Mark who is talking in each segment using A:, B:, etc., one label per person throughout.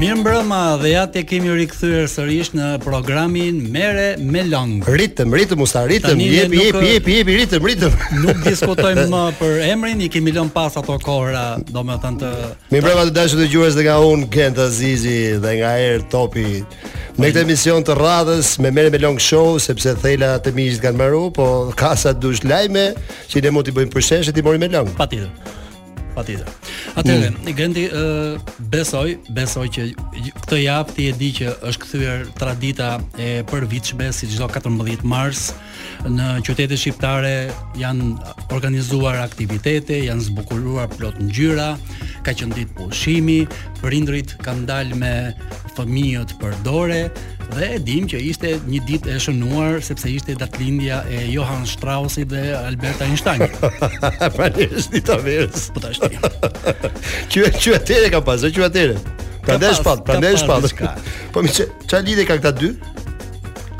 A: Mirë mbrëma dhe ja te kemi rikthyer sërish në programin Mere me Long.
B: Ritëm, ritëm usta, ritëm,
A: Tani ne
B: jepi,
A: nuk-
B: jepi, jepi, jepi, ritëm, ritëm.
A: Nuk diskutojmë më për emrin, i kemi lënë pas ato kohëra, domethënë të
B: Mi mbrëma të dashur dëgjues dhe nga unë Gent Azizi dhe nga Air Topi. Me këtë emision të radhës me merrem me Long Show sepse thela të miqit kanë marru, po ka sa dush lajme që ne mund t'i bëjmë përsheshe ti morim me Long.
A: patjetër. Patjetër. Atëherë, mm. Genti ë besoj, besoj që gj- këtë javë ti e di që është kthyer tradita e përvitshme si çdo 14 mars në qytetet shqiptare janë organizuar aktivitete, janë zbukuruar plot ngjyra, ka qenë ditë pushimi, prindrit kanë dalë me fëmijët për dore dhe e dim që ishte një ditë e shënuar sepse ishte datëlindja e Johann Straussit dhe Albert Einsteinit.
B: pra ne është dita verës.
A: Po tash ti.
B: Që që atëre ka pas, që atëre. Prandaj
A: pas,
B: shpat,
A: ka
B: prandaj
A: pas
B: shpat.
A: diçka.
B: Po mi ç'a ç'a lidhje ka këta dy?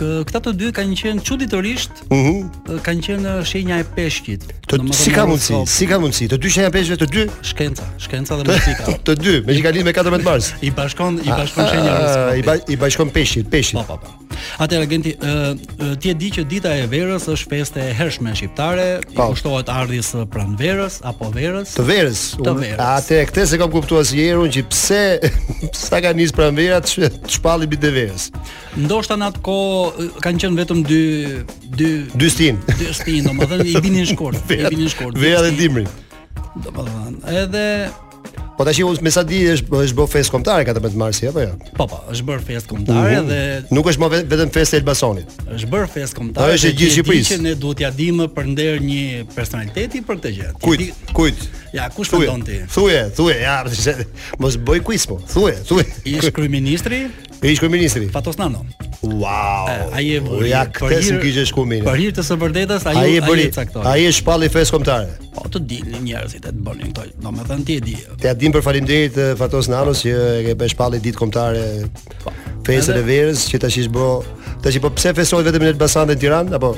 A: Kë- Këta të dy kanë qenë çuditërisht,
B: Mhm.
A: kanë qenë shenja e peshqit.
B: Të
A: Domethënë,
B: si ka mundsi?
A: horoskop,
B: Si ka mundsi? Të dy janë peshqve të dy?
A: Shkenca, shkenca dhe muzika.
B: Të dy, me që ka lidhje me 14 mars.
A: I bashkon, i bashkon shenja
B: Ah, I
A: horoskopit.
B: ba, i bashkon peshqit, peshqit.
A: Po, po, po. Atëherë agenti, ë ë, ti e di që dita e verës është festë e hershme shqiptare, i
B: Po.
A: kushtohet ardhjes së pranverës apo verës.
B: Të verës.
A: Të
B: Unë-
A: verës.
B: Atë këtë se kam kuptuar si herë unë që pse sa ka nis pranvera të sh- të shpalli bitë e verës.
A: Ndoshta në atë kohë ë, kanë qenë vetëm dy dy
B: Dy stin.
A: dy stinë, domethënë i binin shkurt, i binin shkurt. dy
B: Vera dhe
A: stinë,
B: dimri.
A: Domethënë, edhe
B: Po tash unë me sa di është është bë fest kombëtare 14 marsi apo jo?
A: Po po, është bërë festë kombëtare dhe
B: Nuk është më ve- vetëm festë e Elbasanit.
A: është bërë festë kombëtare.
B: A është e
A: dhe
B: gjithë
A: ti e di
B: Shqipërisë?
A: Që ne duhet t'ja dimë përnder një personaliteti për këtë gjë. Ti
B: Kujt?
A: di-
B: Kujt?
A: Ja, kush
B: Thuje,
A: mendon ti?
B: thuje, thuje, ja, se- mos bëj quiz po. Thuje, thuje.
A: Ish kryeministri
B: Ish kryeministri.
A: Fatos Nano.
B: Wow.
A: Ai e vuri.
B: Ja, këtë s'm kishte shku mirë.
A: Për hir të së vërtetës, ai
B: Ai e
A: ai
B: bëri.
A: e caktoi.
B: Ai e shpalli fesë kombëtare.
A: Po të dilnin njerëzit e të bënin këto. Domethënë ti e di.
B: Te ja dim për faleminderit eh, Fatos Nanos që e ke bërë shpalli ditë kombëtare festën
A: Po.
B: e
A: Edhe-
B: verës që tash ish bë tash po pse festohet vetëm në Elbasan dhe në Tiranë apo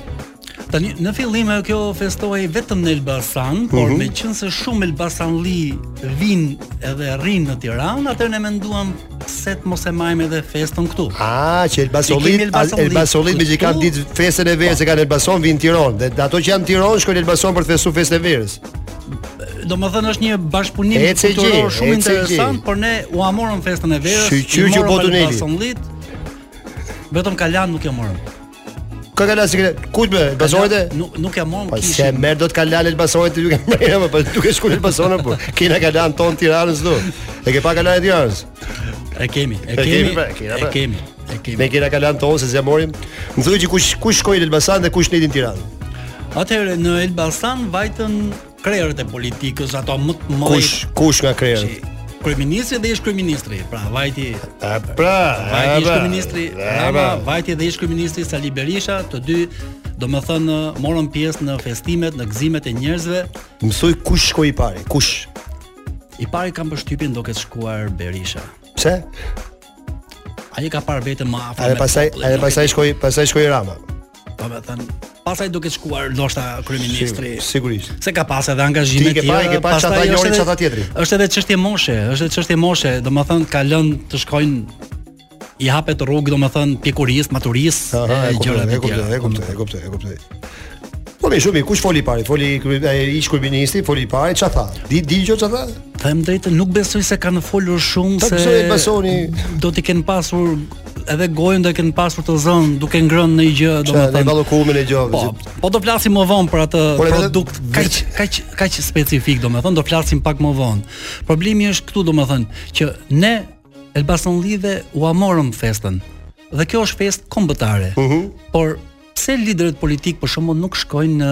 A: Tani në fillim e kjo festohej vetëm në Elbasan, por
B: Mhm.
A: meqense shumë elbasanli vinë edhe rrinë në Tiranë, atëherë ne menduam se të mos e majmë edhe festën këtu.
B: a që
A: I kemi
B: Elbasollit a-
A: Elbasollit
B: Elbasollit me që kanë
A: këtu.
B: ditë festën e verës e kanë Elbason vinë në Tiranë dhe ato që janë në Tiranë shkojnë në Elbason për të festuar festën e verës
A: Do më thënë është një bashkëpunim
B: ECG,
A: kulturor shumë
B: ECG.
A: interesant, por ne u amorëm festën e verës,
B: Shqyqyr që botën eli.
A: Basonlit. Vetëm Kalan nuk e morëm.
B: ka kanë si kush me Elbasorit e?
A: Nuk nuk e morëm
B: Po se
A: kishin.
B: merr do të kalal Elbasorit ju ke merr apo duke shkuar në Elbason apo kena kalan ton Tiranës do e ke pa kalan e Tiranës
A: E kemi, e
B: kemi,
A: kemi,
B: pra, e kemi,
A: e
B: pra.
A: kemi, e kemi.
B: ne kena kalan ton se zjamorim më thuaj që kush kush shkoi në Elbasan dhe kush në Tiranë
A: Atëherë në Elbasan vajtën krerët e politikës ato më të mëdha.
B: Kush kush nga krerët?
A: Kryeministri dhe ish kryeministri, pra vajti
B: A pra,
A: Vajti ish
B: pra,
A: kryeministri
B: a
A: Rama, vajti dhe ish kryeministri Sali Berisha, të dy domethënë morën pjesë në festimet, në gëzimet e njerëzve.
B: Mësoj pra. kush shkoi i pari, kush?
A: I pari kam përshtypjen do ketë shkuar Berisha.
B: Pse?
A: Ai e ka parë vetëm më afër. me
B: Edhe
A: Po,
B: pastaj,
A: popullin, nuk
B: edhe
A: e
B: pastaj shkoi, pastaj shkoi Rama.
A: di, Domethënë, pastaj do ketë shkuar ndoshta kryeministri.
B: Sigur- sigurisht.
A: Se ka pas edhe angazhime
B: Ti ke pa- ke pa
A: pastaj
B: çata
A: është
B: njëri,
A: edhe-
B: çata tjetri.
A: Është edhe çështje moshe, është edhe çështje moshe, domethënë ka lënë të shkojnë i hapet rrugë domethënë pjekurisë, maturisë,
B: Aha,
A: e
B: e kuptoj,
A: gjërat
B: e
A: e
B: kuptoj,
A: tjera.
B: e kuptoj, e kuptoj, e kuptoj. Po më shumë, kush foli i pari? Foli krye- ai ish kryeministri, foli i pari, çfarë tha? Di di gjë çfarë tha?
A: Them drejtën, nuk besoj se kanë folur shumë
B: Ta
A: se
B: besoj e besoni.
A: do t'i kenë pasur edhe gojën do e kenë pasur të zënë duke ngrënë në gjë
B: Çfarë ai
A: domethënë.
B: ballokumin e gjove.
A: Po, po do flasim më vonë për atë
B: Por edhe-
A: produkt kaq kaq kaq specifik domethënë do flasim pak më vonë. Problemi është këtu domethënë që ne Elbasanlidhe u amorëm festën. Dhe kjo është festë kombëtare. Por pse liderët politik për shembull nuk shkojnë në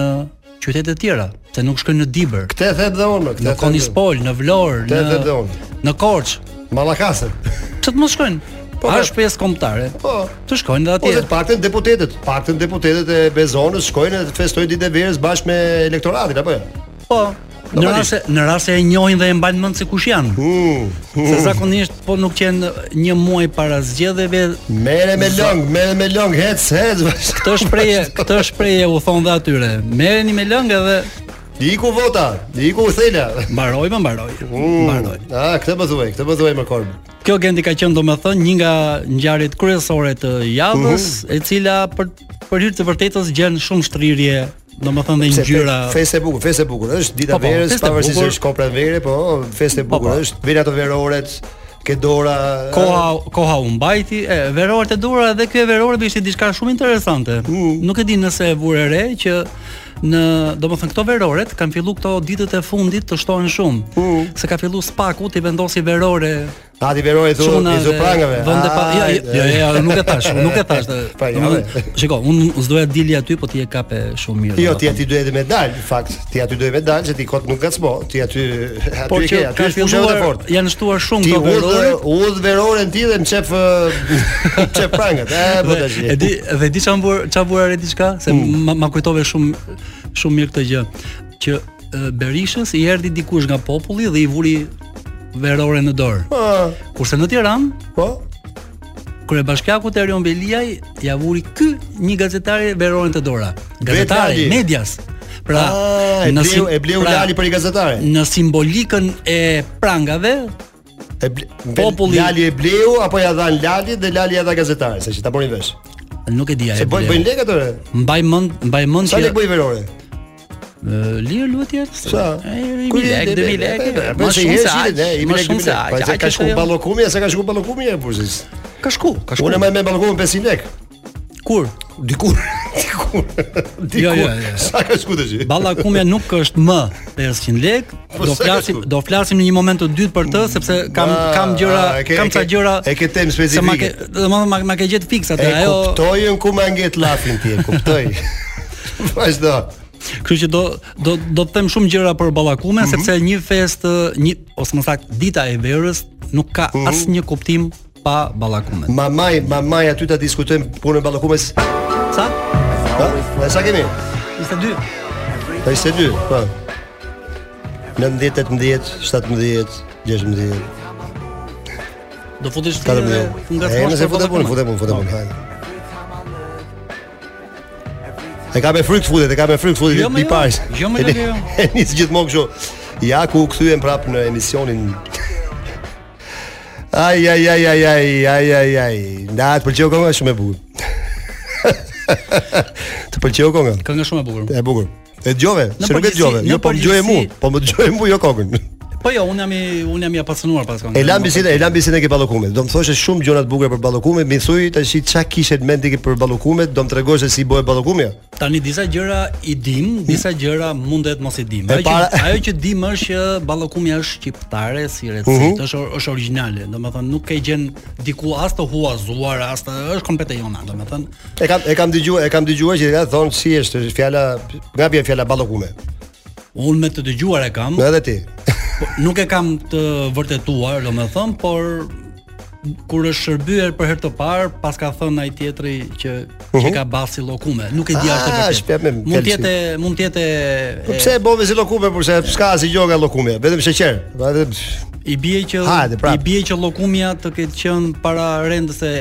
A: qytete të tjera, se nuk shkojnë në Dibër,
B: Këtë e them dhe unë, më,
A: në
B: këtë. e them dhe unë.
A: Konispol, në Vlorë,
B: Te- te- te
A: në
B: unë.
A: në Korçë.
B: Mallakasën.
A: Pse të mos shkojnë?
B: Po,
A: Po,
B: pra-
A: A është pesë kombëtare?
B: Po.
A: Të shkojnë dhe
B: Ose
A: atje.
B: të paktën deputetet, paktën deputetet e Bezonës shkojnë dhe festojnë ditën e verës bashkë me elektoratin apo jo?
A: Po. Në
B: Normalisht.
A: rase në rase e njohin dhe e mbajnë mend se kush janë.
B: Mm.
A: Se zakonisht po nuk qenë një muaj para zgjedhjeve,
B: Mere me long, mere me long, hec, hec.
A: këtë shprehje, këtë shprehje u thon dhe atyre. Merreni me lëngë dhe
B: I iku vota, i iku thela.
A: Mbaroj, më mbaroj. Mbaroj.
B: Ah, këtë më thuaj, këtë më thuaj më korb.
A: Kjo Gendi ka qenë domethënë një nga ngjarjet kryesore të javës, e cila për për hir të vërtetës gjen shumë shtrirje, domethënë dhe
B: Se fe-
A: ngjyra.
B: Festë e bukur, festë e bukur, është dita
A: Po, po,
B: verës,
A: festë e
B: pavarësisht se
A: bukur.
B: është kopra vere, po festë e
A: Po,
B: bukur
A: po.
B: është. Vjen ato veroret, ke dora.
A: Koha koha u mbajti, e verorët e dura dhe ky e verorëve ishte diçka shumë interesante. Nuk e di nëse e vure re që në domethënë këto verorët kanë fillu këto ditët e fundit të shtohen shumë. Se ka fillu spaku ti vendosi verore
B: Ati verore thu,
A: Çuna
B: i thu
A: dhe
B: prangave.
A: Vende pa,
B: Ai,
A: jo, jo, jo, jo, nuk e thash, nuk e thash. dhe-
B: Pa, ja,
A: domethënë,
B: ve.
A: Shiko, unë s'doja të dilja aty, po ti e kape shumë mirë.
B: Jo,
A: domethënë.
B: ti aty duhet me dal, në fakt. Ti aty duhet me dal, se ti kot nuk gacmo. Ti aty
A: Po
B: aty e
A: që
B: ke,
A: ka
B: aty është pusha
A: filluar,
B: jote e fortë.
A: janë shtuar shumë
B: Ti
A: këto
B: udh
A: verore.
B: udh veroren ti dhe mçef çep prangët. E po tash.
A: Dhe- E di dhe di çam bur çam bura re diçka se
B: Hmm.
A: ma, ma kujtove shumë shumë mirë këtë gjë që e, Berishës i erdhi dikush nga populli dhe i vuri verore në dorë.
B: Ah,
A: Kurse në Tiranë,
B: Po.
A: kryebashkiaku Erion Beliaj ja vuri ky një gazetari verorën te dora.
B: Lali.
A: Gazetari medias. Pra,
B: Ah, e
A: në sim-
B: bleu, e bleu
A: pra,
B: Lali për i gazetare.
A: Në simbolikën e prangave,
B: E ble,
A: Populli-
B: Lali e bleu apo ja dhan Lali dhe Lali ja dha gazetare, se që ta bënin vesh.
A: nuk e di
B: Se
A: ajo.
B: bëjnë bëjnë lekë ato.
A: Mbaj mend, mbaj mend
B: Sa
A: që
B: lekë bëj verore?
A: Ë, Lirë luhet jetë?
B: Sa? Ku i
A: lek,
B: vjen,
A: dëmi
B: e,
A: lek,
B: e, e,
A: më
B: po se i
A: shumë
B: herë
A: se aq,
B: shitet, e, i
A: më
B: bilek, i
A: shumë se
B: bilek.
A: aq,
B: Pa, se
A: aq
B: ka
A: është
B: shku
A: ajo.
B: ballokumi, sa ka shku ballokumi e burzis.
A: Ka shku, ka shku.
B: Unë më me ballokun 500 lekë.
A: Kur?
B: Dikur, dikur.
A: Jo,
B: Dikur.
A: jo, jo.
B: Sa ka shku tash?
A: Balla kumja nuk është më 500 lek,
B: Po
A: do
B: sa ka
A: flasim
B: shku?
A: do flasim në një moment të dytë për të sepse kam
B: Ah,
A: kam gjëra,
B: ah, e ke-
A: kam
B: e
A: ca
B: ke-
A: gjëra.
B: e ke temë
A: Se ma
B: specifike.
A: ke, domethënë ma, ma ke gjetë fikse
B: E
A: atë ajo.
B: kuptojën ku ma ngjet llafin ti, e kuptoj. Vazhdo.
A: Kështu që do do do të them shumë gjëra për ballakumen
B: Mhm.
A: sepse një festë, një ose më saktë dita e verës nuk ka
B: Mhm.
A: asnjë kuptim pa ballakumen.
B: Mamaj, mamaj aty ta diskutojmë punën e ballokumës.
A: Sa?
B: Ha? Ne sa kemi?
A: 22.
B: Ai se dy, po. 19, 18, 17, 16,
A: Do futesh ti
B: 14.
A: dhe të
B: E,
A: ngacmosh
B: nëse
A: për
B: futet punë,
A: ballakumen.
B: futet punë, futet punë. hajde. E ka me frikë futet, e ka me frikë futet
A: Jo,
B: jo,
A: më
B: di
A: jo.
B: parë.
A: Jo, më jo, jo.
B: E nis gjithmonë kështu. Ja ku u kthyen prap në emisionin Ai ai ai ai ai ai ai ai. Na të pëlqeu konga shumë e bukur. të pëlqeu konga.
A: Kënga shumë e bukur.
B: E bukur. E dëgjove, se nuk e
A: përgjithsi-
B: dëgjove.
A: në
B: Jo, po më dëgjoj
A: përgjithsi-
B: mua, po më dëgjoj mua jo kokën.
A: Po jo, unë jam i unë jam i apasionuar pas këngës.
B: E lam bisedën, e lam bisedën ke ballokumit. Do më thoshe shumë gjëra të bukura për ballokumet, më thuj tash çka kishe në mend ti për ballokumet, do më tregosh se si bëhet ballokumi?
A: Tani disa gjëra i dim, disa gjëra mundet mos i dim. Ajo
B: para-
A: që ajo që dim është që ballakumi është shqiptare si recetë,
B: Uhu.
A: është or- është origjinale. Domethënë nuk e gjen diku as të huazuar, as të është kompete jona, domethënë.
B: E kam e kam dëgjuar, e kam dëgjuar që ka thonë si është fjala, nga vjen fjala ballokume.
A: Unë me të dëgjuar e kam,
B: Në edhe ti.
A: po, nuk e kam të vërtetuar, domethënë, por kur është shërbyer për herë të parë, pas ka thënë ai tjetri që që ka basi llokume. Nuk e di as të
B: Mhm. Ah, shpjep me
A: vërtetë. Mund të
B: fjalë
A: jetë, mund të jetë
B: Po pse e bove si llokume, përse s'ka asnjë gjë nga llokumia, vetëm sheqer. Vetëm
A: I bie që
B: Hajde, prap.
A: i bie që llokumja të ketë qenë para rendës e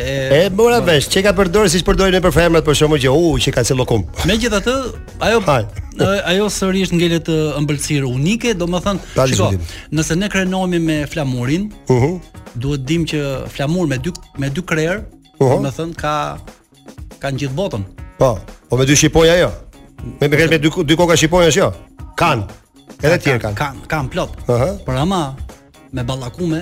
B: e mora vesh, çe ka përdorë siç përdorin ne për femrat për shkakun që u që ka si llokum.
A: Megjithatë, ajo
B: Hajde.
A: ë, ajo sërish ngelet të ëmbëlsirë unike, domethënë,
B: Pa
A: shiko,
B: diskutim.
A: nëse ne krenohemi me flamurin,
B: Uhu.
A: duhet dim që flamur me dy me dy krer,
B: Oho.
A: domethënë ka kanë gjithë botën.
B: Po, po me dy shqiponja jo. Me me me dy dy koka shqiponja është jo. Kan. Edhe tjerë kanë.
A: Kan, kan plot.
B: Aha.
A: Por ama me ballakume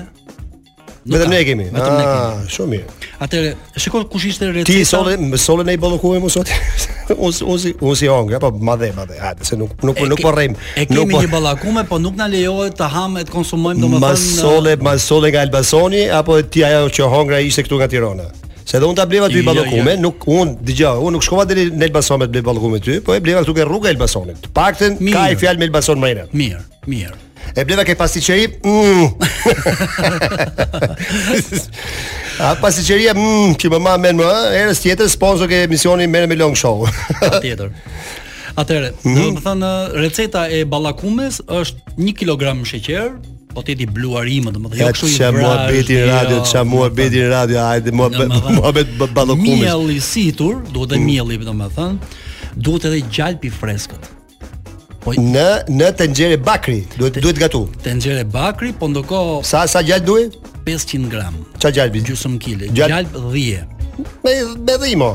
A: nuk ka.
B: Vetëm ne e kemi.
A: Vetëm ne kemi.
B: Ah, shumë mirë.
A: Atëre, shikoj kush ishte receta.
B: Ti sole më sole ne i ballokuhem unë sot. Unë si- unë si unë si hongër, po ma dhe, ma dhe. Hajde se nuk nuk nuk po rrim.
A: E kemi
B: Nuk po
A: një ballakume, po nuk na lejohet të hamë e të konsumojmë
B: ma
A: domethënë.
B: sole, ma sole nga Elbasoni apo ti ajo që hongra ishte këtu nga Tirana. Se edhe unë ta bleva ty
A: Jo,
B: ballokume,
A: jo.
B: nuk unë dëgjoj, unë nuk shkova deri në Elbason me të blej ballokume ty, po e bleva këtu ke rruga e Elbasonit. Të paktën ka
A: Mirë.
B: i fjalë me Elbason mrena.
A: Mirë, mirë.
B: E bleva ke pastiqeri. Mm. A pastiqeria mm, që më mamë më, herës tjetër sponsor ke emisioni merr me Long Show.
A: Patjetër. Atëre, domethënë receta e ballakumes është 1 kg sheqer, po ti di bluarimë, domethënë jo
B: Ja
A: kështu i
B: ç'a muhabeti
A: vrazhë,
B: radio,
A: jo,
B: ç'a muhabeti radio, hajde muhabet
A: domethënë,
B: muhabet b- ballokumit. Mm.
A: Mielli i situr, duhet të mielli domethënë, duhet edhe gjalp i freskët. Po
B: Në në tenxhere bakri, duhet duhet gatu.
A: tenxhere bakri, po ndërkohë
B: Sa sa gjallë duhet?
A: 500 gram,
B: Ç'a gjallë bi?
A: gjysmë kile,
B: Gjal-
A: gjalp 10.
B: Me me dhimo.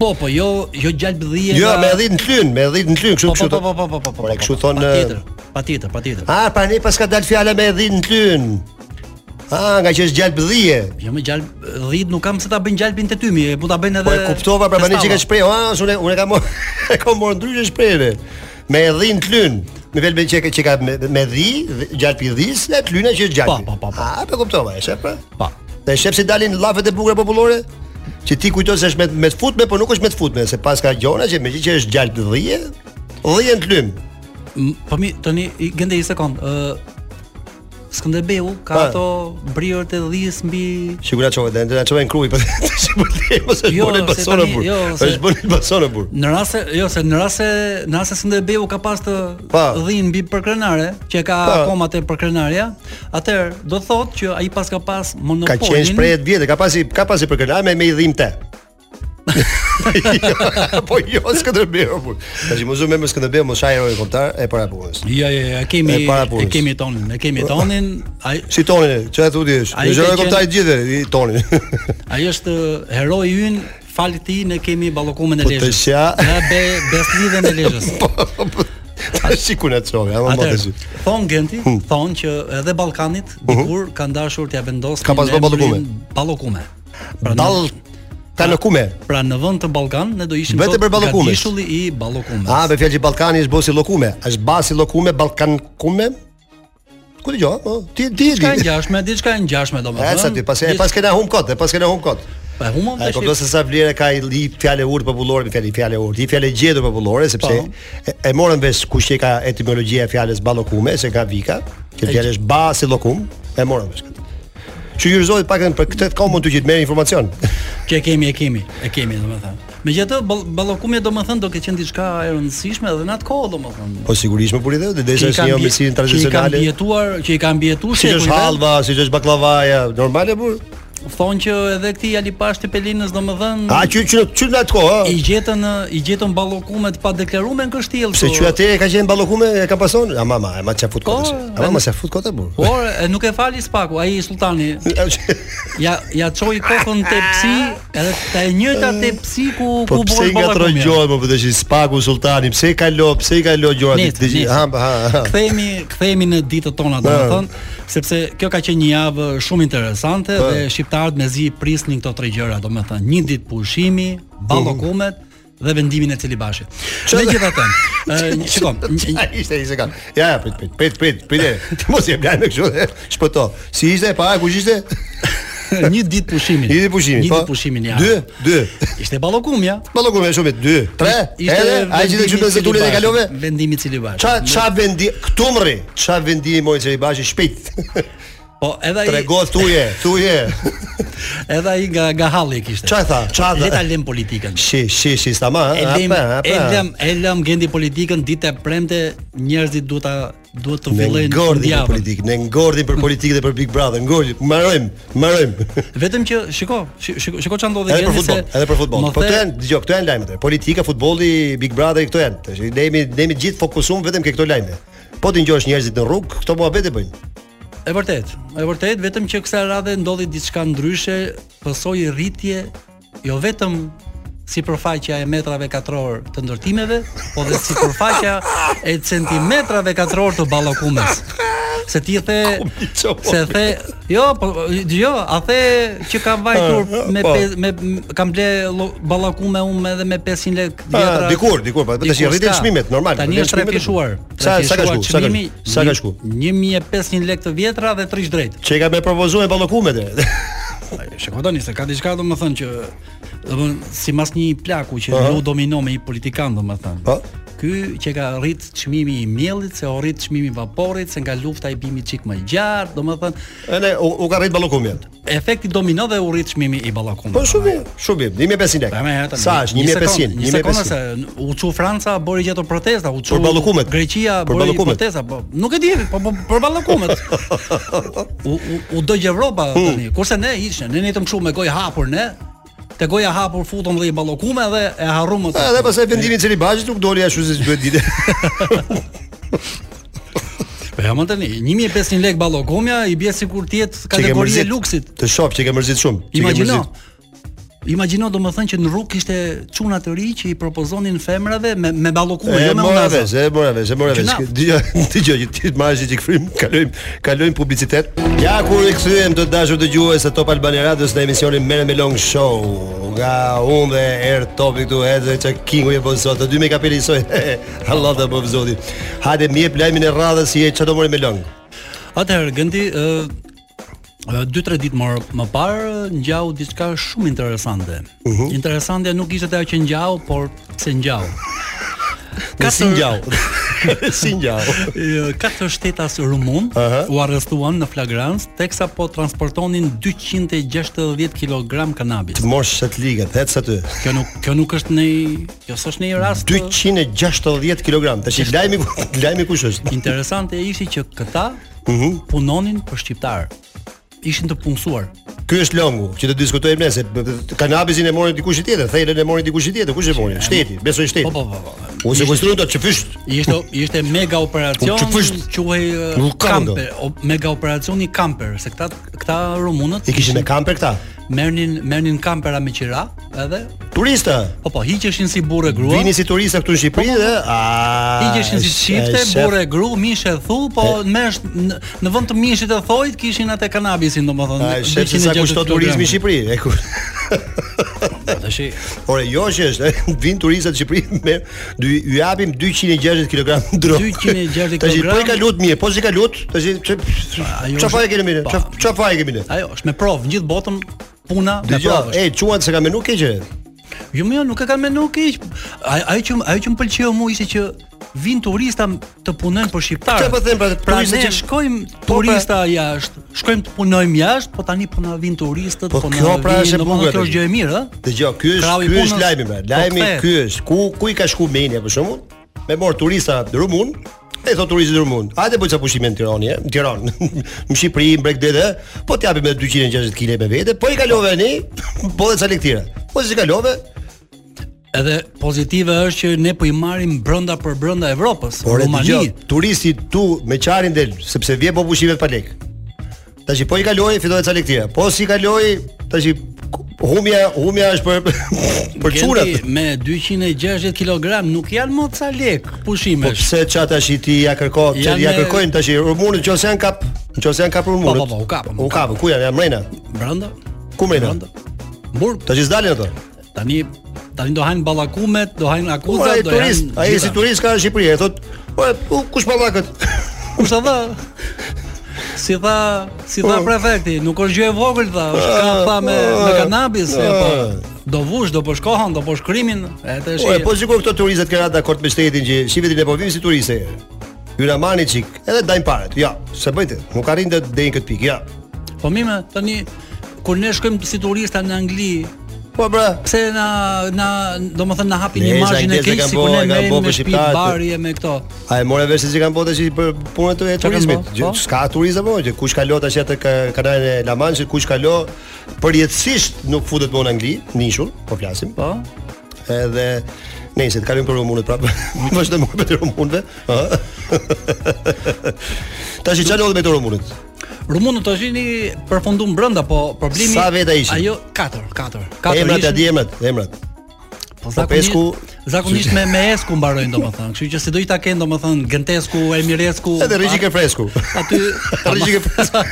A: Po, po jo, jo gjalp 10.
B: Jo,
A: nga-
B: me dhit në klyn, me dhit në klyn, kështu
A: Po po
B: kështu.
A: po po po po po. po,
B: Ore,
A: po,
B: kështu
A: po,
B: thonë,
A: Patjetër, patjetër, patjetër.
B: Ah, pra ne pas ka dal fjala me dhit në klyn. Ah, nga që është gjallë dhije.
A: Jo më gjalp 10 nuk kam se ta bëjnë gjalpin te tymi, e mund ta bëjnë edhe.
B: Po e kuptova pra bani që
A: testava.
B: ka shpreh, ah, unë unë kam mor- e kam marrë ndryshe shprehje. Me dhin klyn, me velbe që që ka me, me dhi, dhe- gjalpi dhis, dhe klyna që është gjalpi.
A: Po, po, po, po.
B: Ah, po kuptova, e shef pra.
A: Pa.
B: Dhe shef se dalin llafet e bukura popullore? Që ti kujton se është me me të futme, po nuk është me të futme, se pas ka gjona që megjithë që është gjalp dhije, dhije në klym.
A: M- Po mi tani i gjende një sekond. Ë Skënderbeu ka
B: Pa.
A: ato briorët e 10 mbi
B: Sigura çove dhe na çove në kruj, po sigurt mos është
A: Jo,
B: bën
A: se
B: basonë
A: tani-
B: burr.
A: jo, se-
B: Është bën basonë burr.
A: Në rast se jo se në rast se në rast se Skënderbeu ka pas të
B: Pa.
A: 10 mbi për krenare, që ka
B: Pa.
A: akoma te për krenarja, atëherë do thotë që ai pas ka pas
B: Ka
A: monopolin.
B: qenë shprehje të vjetë, ka pasi ka pasi për kënaqje me me i dhim te. po jo Skënderbeu. po. Tash mos u me me Skënderbeu, mos hajë rojë kombëtar e para punës.
A: Jo, jo, jo, e kemi
B: E para punës.
A: e kemi tonin, e kemi tonin, ai
B: Si tonin, çfarë thotë ti?
A: Ai ka
B: Në zhore
A: qenë-
B: kombëtar i gjithëve, i tonin.
A: Ai është heroi ynë, fal ti ne kemi ballokumin e
B: Po të Po,
A: Lezhës.
B: sha.
A: Ja be beslidhen e Lezhës.
B: Tash sikur na çove, ama më tash.
A: Atëherë, thon Genti,
B: Hm.
A: thon që edhe Ballkanit dikur kanë dashur t'ia vendosë
B: Ka pas bërë ballokume.
A: Ballokume. Pra në,
B: Dall ta në kume.
A: pra në vend të Ballkan ne do ishim
B: Vetëm për ballokumet.
A: gatishulli i ballokumeve.
B: A, me fjalë që Ballkani është bosi llokume. Është basi llokume, Ballkan kume. Ku dëgjoj? po, Ti ti e
A: diçka e
B: di.
A: ngjashme, diçka e ngjashme
B: Ja,
A: domethënë.
B: sa ti, pas pas kena hum kot, e pas kena hum kot.
A: pa humon
B: A e
A: tash.
B: kupton se sa vlerë ka i li fjalë urtë popullore me fjalë fjalë urtë, i fjalë gjetur popullore
A: Po.
B: sepse e, e morën vesh kush që ka etimologjia e fjalës ballokume, se ka vika, që fjalë është ba si llokum, e morën vesh këtë. Që jurzohet pakën për këtë kohë mund të që të merr informacion.
A: Që e kemi, e kemi, e kemi domethënë. Megjithatë ball- ballokumi domethënë do të ketë qenë diçka e rëndësishme edhe në atë kohë domethënë.
B: Po sigurisht më puri dhe dhe
A: që
B: derisa
A: i ka
B: është një
A: mbje-
B: mesin
A: Që i kanë
B: tradicionale.
A: bjetuar, që i kanë bjetuar
B: Si është
A: shekujve.
B: halva, si është baklavaja, normale bur.
A: Thonë që edhe këti alipash të Pelinës
B: A
A: domethënë
B: që që që në atë kohë,
A: i
B: ha?
A: gjetën ë, i gjetën ballokume të pa deklaruar në kështjellë.
B: Se
A: po-
B: që atë ka qenë ballokume e ka pason? Ama ma, ma çfarë fut
A: Po,
B: kotë. Ama ma çfarë fut kotë bur.
A: Por e, nuk e fali Spaku, ai sultani ja ja çoi kokën te psi, edhe te njëjta te psi ku
B: Po
A: ku
B: pse i ngatron gjohet më vetë që po, spaku sultani, pse i kalo, pse i kalo gjohet
A: Nice,
B: ditë- ditë-
A: nice.
B: ha ha. ha.
A: Kthehemi kthehemi në ditët tona domethënë, sepse kjo ka qenë një javë shumë interesante dhe shqiptarët mezi prisnin këto tre gjëra domethënë, një ditë pushimi, ballokumet dhe vendimin e Celibashit. Megjithatë, ë, shikon, një-
B: Ai ishte ishte ka. Ja, ja, prit, prit, prit, prit, prit. e. Ti mos e blan me kështu. e. Shpëto. Si ishte e para ku ishte?
A: një ditë pushimi.
B: Një ditë pushimi.
A: Një
B: po.
A: ditë pushimin ja.
B: Dy, dy.
A: Ishte ballokumja.
B: Ballokum e shumë dy, tre. Edhe ai gjithë kështu me tulet e kalove.
A: Vendimi i Celibash.
B: Ça ça vendi këtu mrri. Ça vendi moj çeri bashi shpejt.
A: Po edhe ai
B: Trego thuje, thuje.
A: edhe ai nga nga halli e kishte.
B: Ça tha? Ça
A: Le ta
B: tha?
A: lëm politikën.
B: Shi, shi, shi, stama, ha?
A: E lëm,
B: Apa, apa.
A: e lëm, e lëm gendi politikën ditë e premte, njerëzit duhet ta duhet të
B: Ne
A: fillojnë
B: ngordin për
A: javën.
B: politikë, ne ngordin për politikë dhe për Big Brother, ngordin. Mbarojm, mbarojm.
A: Vetëm që shiko, shi- shiko, shiko çfarë ndodhi
B: Edhe për
A: gendi Po, se
B: futboll, edhe për futboll.
A: më
B: Po këto
A: the-
B: janë, dëgjoj, këto janë lajmet. e. Politika, futbolli, Big Brother, këto janë. Tash ne jemi ne jemi gjithë fokusuar vetëm ke këto lajme. Po ti ngjosh njerëzit në rrugë, këto muhabete bëjnë.
A: E vërtet, e vërtet, vetëm që kësaj radhe ndodhi diçka ndryshe, pësoi rritje jo vetëm si përfaqja e metrave katror të ndërtimeve, po dhe si përfaqja e centimetrave katror të ballokumës. Se ti the se the jo po jo a the që ka vajtur me
B: po.
A: pe, me kam ble lo- ballakume unë edhe me 500 lek vjetra.
B: dikur, dikur, po, tash i
A: Dikur
B: rritin
A: s'ka.
B: çmimet, normal,
A: Tani
B: rritin
A: është
B: çmimet.
A: trafishuar.
B: Sa- sa ka shku? Sa ka- sa ka shku?
A: 1500 lekë të vjetra dhe 30 drejt.
B: Që i ka me propozuar ballokumet. e.
A: Shikoj tani se ka diçka domethënë që domethënë sipas një plaku që
B: Aha.
A: ju domino me një politikan domethënë.
B: Po.
A: Ky që ka rrit çmimi i miellit, se u rrit çmimi i vaporit, se nga lufta i bimi çik më gjatë, domethënë
B: Edhe u, u ka rrit ballokumit.
A: efekti domino dhe u rrit çmimi i ballakumit.
B: Po shumë mirë, shumë mirë. 1500 lekë.
A: Pa më Po, Pra, herë tani.
B: Sa është?
A: Një
B: 1500,
A: sekondë, Një sekondë
B: 1500.
A: se u çu Franca bëri gjatë protesta, u çu
B: Për ballokumet.
A: Greqia
B: Për
A: bëri
B: ballokumet.
A: protesta, po nuk e di, po po, për ballokumet. u u, u dëgj Evropa tani. Kurse ne ishim, ne ne jetëm kështu me gojë hapur ne. te goja hapur futëm dhe i ballokume dhe e harruam atë.
B: Edhe pastaj vendimi i celibazhit nuk doli ashtu siç duhet ditë.
A: Po ja më tani, 1500 lek ballokumja i bie sikur të jetë
B: Që ke
A: kategorie
B: mërzit-
A: luksit.
B: Të shoh që ke mërzit shumë. që ke
A: Imagjino. po
B: mërzit.
A: Imagjino domethënë që në rrugë kishte çuna të ri që i propozonin femrave me me ballokume,
B: E
A: jo me
B: mora
A: undaza.
B: vesh, e mora vesh, e mora vesh.
A: Gjuna.
B: Dgjoj, dgjoj, që ti të marrësh çik frym, kalojm, kalojm publicitet. Ja kur i kthyem të dashur dëgjues të Top Albani Radios në emisionin Merë me Long Show. Nga unë dhe Er Topi këtu edhe që kingu e po sot. Të dy me kapeli soj. Allah ta bëv zoti. Hajde mi jep lajmin e radhës si e çfarë do morëm me Long.
A: Atëherë Gëndi ë ë, 2-3 ditë më më parë ngjau diçka shumë interesante.
B: Mhm.
A: Interesante nuk ishte ajo që ngjau, por pse ngjau.
B: Ka si ngjau. si ngjau.
A: Ë, Katër shtetas rumun
B: Aha.
A: u arrestuan në flagrancë teksa po transportonin 260 kg kanabis.
B: Mosh shet ligët, hec aty.
A: Kjo nuk kjo nuk është në kjo s'është në rast. ë,
B: 260 kg. Tash lajmi ku- lajmi kush është?
A: Interesante ishte që këta
B: Mhm.
A: punonin për shqiptar. Ishin të punësuar.
B: Ky është longu që të diskutojmë ne se b- b- kanabisin e morën dikush i tjetër, thelën e morën dikush i tjetër, kush e mori? Shteti, besoj shteti.
A: Po po po. po.
B: Unë se konstruon dot çfysht.
A: Ishte ishte mega operacion,
B: Po, që fësht?
A: quhej uh,
B: Nuk kam do.
A: Camper, o, mega operacioni Camper, se këta këta rumunët
B: I kishin me kamper këta.
A: merrnin merrnin kampera me qira, edhe
B: Turista.
A: po po hiqeshin si burrë grua.
B: Vini si turista këtu në Shqipëri dhe
A: Po,
B: a
A: Hiqeshin si shifte,
B: shef-
A: burrë gru, mish e thu, po mesh në, në vend të mishit e thojt kishin atë kanabisin domethënë.
B: A shef se sa
A: 260
B: kushton turizmi në Shqipëri. E ku.
A: kilogramit. Tash i-
B: Ore, jo që është, e, vin turistat në Shqipëri me dy ju japim 260 kg drog.
A: 260
B: Tash i po i
A: kilogram.
B: ka lut mirë, po si ka lut, tash i çf-
A: ajo
B: çfarë fare
A: është-
B: keni mirë?
A: Pa.
B: Çf- Çfarë fare keni mirë?
A: Ajo është me provë, në gjithë botën puna me
B: Dgjoj,
A: provë.
B: e çuan se ka menu keqe.
A: Jo, më jo, nuk e kam menu keq. Ai- Ajo që ajo që më pëlqeu mua ishte që vin turista të punojnë për shqiptarët.
B: Këtë po them, pra, turistët
A: ne
B: që-
A: shkojmë
B: Po, pra-
A: turista jashtë, shkojmë të punojmë jashtë, po tani po na vin turistët,
B: Po,
A: po, na
B: kjo pra
A: vin,
B: është e
A: domethënë
B: bukur,
A: Kjo është gjë e mirë, ë?
B: Dgjoj, ky
A: Krau i
B: është ky është
A: punës-
B: lajmi pra.
A: po,
B: Lajmi
A: kthehet.
B: ky është. Ku ku i ka shku Menia për shembull? Me mor turista rumun, e thot turistët rumun. Hajde bëj ca pushime në Tiranë, e, në Tiranë. në Shqipëri, në Bregdede, po t'japim me 260 kg me vete, po i kalove ani, po dhe ca lektira. Po si kalove?
A: Edhe pozitive është që ne po i marrim brenda për brenda Evropës,
B: Por e Po, dëgjoj,
A: Rumani.
B: turisti tu me qarin del, sepse vjen po pushimet pa lek. Tash po i kaloi, fitoi ca lektira. Po si kaloi, tash humja, humja është për për
A: Gendi,
B: çunat.
A: me 260 kg nuk janë më ca lek
B: Po
A: pushimesh.
B: pse ça tash i ti ja kërko, që
A: Janë
B: ja
A: me-
B: kërkojnë tash i rumunët nëse janë kap, nëse janë kap
A: Po,
B: rumunët.
A: po, po, u kapën, u
B: U kapën, ku janë? Janë mrena.
A: Brenda?
B: Ku mrena?
A: Brenda. Burg
B: Tash i zdalin ato.
A: Tani tani do hajnë ballakumet, do hajnë
B: Po
A: akuzat,
B: ai
A: do hajnë.
B: turist, ai si
A: gjitha.
B: turist ka në Shqipëri, e thot, po u, kush pa dha kët?
A: Kush ta dha? Si tha, si tha
B: Po.
A: prefekti, nuk është gjë e vogël tha, është ka
B: Ah,
A: tha me
B: po,
A: me kanabis,
B: ah.
A: e, po. Do vush, do po shkohon, do po shkrimin, e të
B: Po e
A: shi.
B: po sikur këto turistët kanë ata dakord me shtetin që shqipetin e po vim si turiste. Hyra mani çik, edhe dajm paret. Ja, se bëjte. Nuk arrin të dejnë kët pikë. Ja.
A: Po mime, tani kur ne shkojmë si turista në Angli,
B: Po bra,
A: pse na na domethënë na hapin
B: Ne,
A: imazhin e
B: anglisët e
A: keq
B: kanë
A: sikur
B: bo-
A: ne
B: e kanë
A: merrem
B: bo
A: me
B: për
A: shtëpi
B: shqiptarët.
A: barje me këto.
B: A e more vesh se që kanë bërë tash për punën e
A: kanë
B: turizmit.
A: bërë,
B: Gjë-
A: po?
B: S'ka turizëm po, që kush kalo tash atë ka- kanalin e La Manche, kush kalo përjetësisht nuk futet më në Angli, nishur, po flasim.
A: Po.
B: Edhe Nëse të kalojmë për rumunët prapë. Vazhdojmë për të rumunëve. ëh. Tash çfarë lodh me të rumunët?
A: Rumunët të shini përfundum brenda, po problemi
B: Sa veta ishin?
A: Ajo 4, 4. 4
B: Emrat ja di emrat, emrat.
A: Po
B: Popesku-
A: zakonisht me me esku mbarojnë domethënë, kështu që si do i ta kenë domethënë Gentesku, Emiresku.
B: Edhe rregjik e fresku.
A: aty
B: Rregjik e fresku.